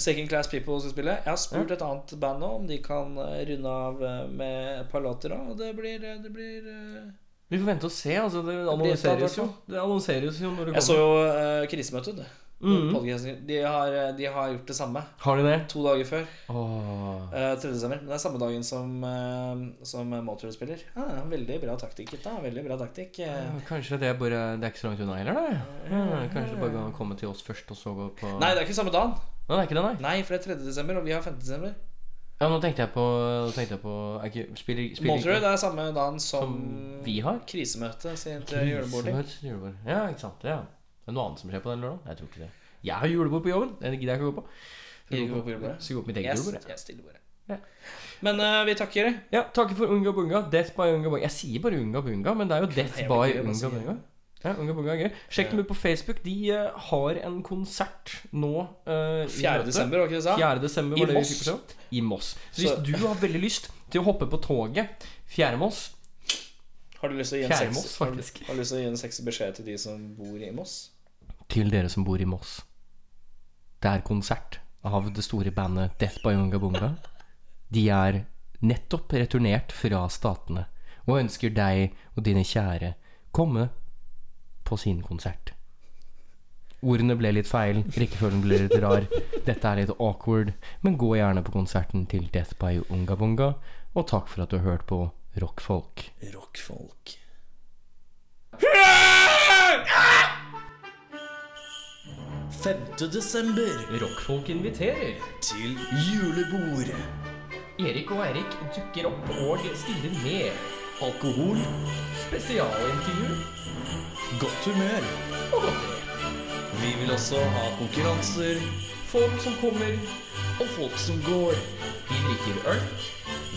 Second Class People skal spille. Jeg har spurt et annet band nå om de kan eh, runde av eh, med et par låter da, og det blir, det blir eh, Vi får vente og se. Altså, det blir et eller annet, annonseres jo. Det annonseres jo når det Jeg så kommer. jo eh, Krisemøtet. det. Mhm. Podcasten. De, har, eh, de har gjort det samme Har de det? to dager før. Åh. Eh, 3. desember. Men det er samme dagen som, eh, som Motor spiller. Ja, veldig bra taktikk, gutta. Veldig bra taktikk. Eh, Ja, Kanskje det er bare Det er ikke så langt unna heller, da. Ja, kanskje det bare kan komme til oss først, og så gå på Nei, det er ikke samme dagen. Nei, det er ikke det, nei. Nei, for det er 3. desember, og vi har 5. desember. Ja, nå tenkte jeg på, nå tenkte jeg på er ikke, spiller, spiller Motor ikke- det er samme dagen som, vi har? krisemøte sin til julebording. Krisemøte, julebord. Ja, ikke sant. Ja. Det er noe annet som skjer på den lørdagen. Jeg tror ikke det. Jeg har julebord på jobben. Det gidder jeg ikke å gå på. Skal Gidder gå ikke gå på julebord? Skal gå på mitt eget Jeg- julebord. jeg stiller bordet. Men eh, vi takker. Ja, takker for Unga Bunga. Death by Unga Bunga. Jeg sier bare Unga Bunga, men det er jo Death jeg vil by ikke gjøre det, Unga sier jeg. Bunga. Ja, Unga Bunga er gøy. Sjekk dem ut på Facebook. De eh, har en konsert nå. eh, 4. i møte. desember, var ikke det jeg sa? 4. desember I var det vi Moss. fikk beskjed om. I Moss. Så hvis Så- du har veldig lyst til å hoppe på toget 4. Moss Har du lyst til å gi en Fjerde sexy- Moss, har du- faktisk. Har du lyst til å gi en sexy beskjed til de som bor i Moss? Til dere som bor i Moss. Det er konsert av det store bandet Death by Unga Bunga. De er nettopp returnert fra statene og ønsker deg og dine kjære komme på sin konsert. Ordene ble litt feil, rekkefølgen ble litt rar. Dette er litt awkward, men gå gjerne på konserten til Death by Unga Bunga. Og takk for at du har hørt på Rockfolk. Rockfolk. Femte desember. Rockfolk inviterer til julebord. Erik og Eirik dukker opp og stiller med alkohol, spesialintervju Godt humør. og godteri. Vi vil også ha konkurranser. Folk som kommer og folk som går. Vi drikker øl,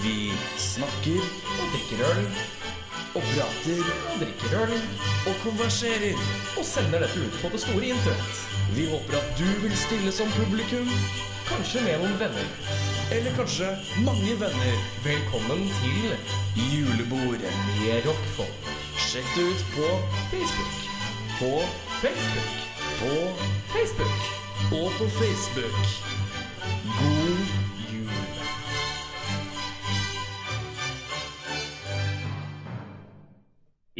vi snakker og drikker øl, og prater og drikker øl, og konverserer og sender dette ut på det store internett. Vi håper at du vil stille som publikum, kanskje med noen venner. Eller kanskje mange venner. Velkommen til julebordet med rockfolk. Sjekk det ut på Facebook. På Facebook. På Facebook. Og på Facebook. God jul.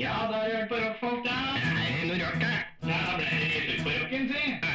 Ja, da har du hørt på rockfolk, da. Det er noe rart, da. Da ble det litt ut på rocken, si.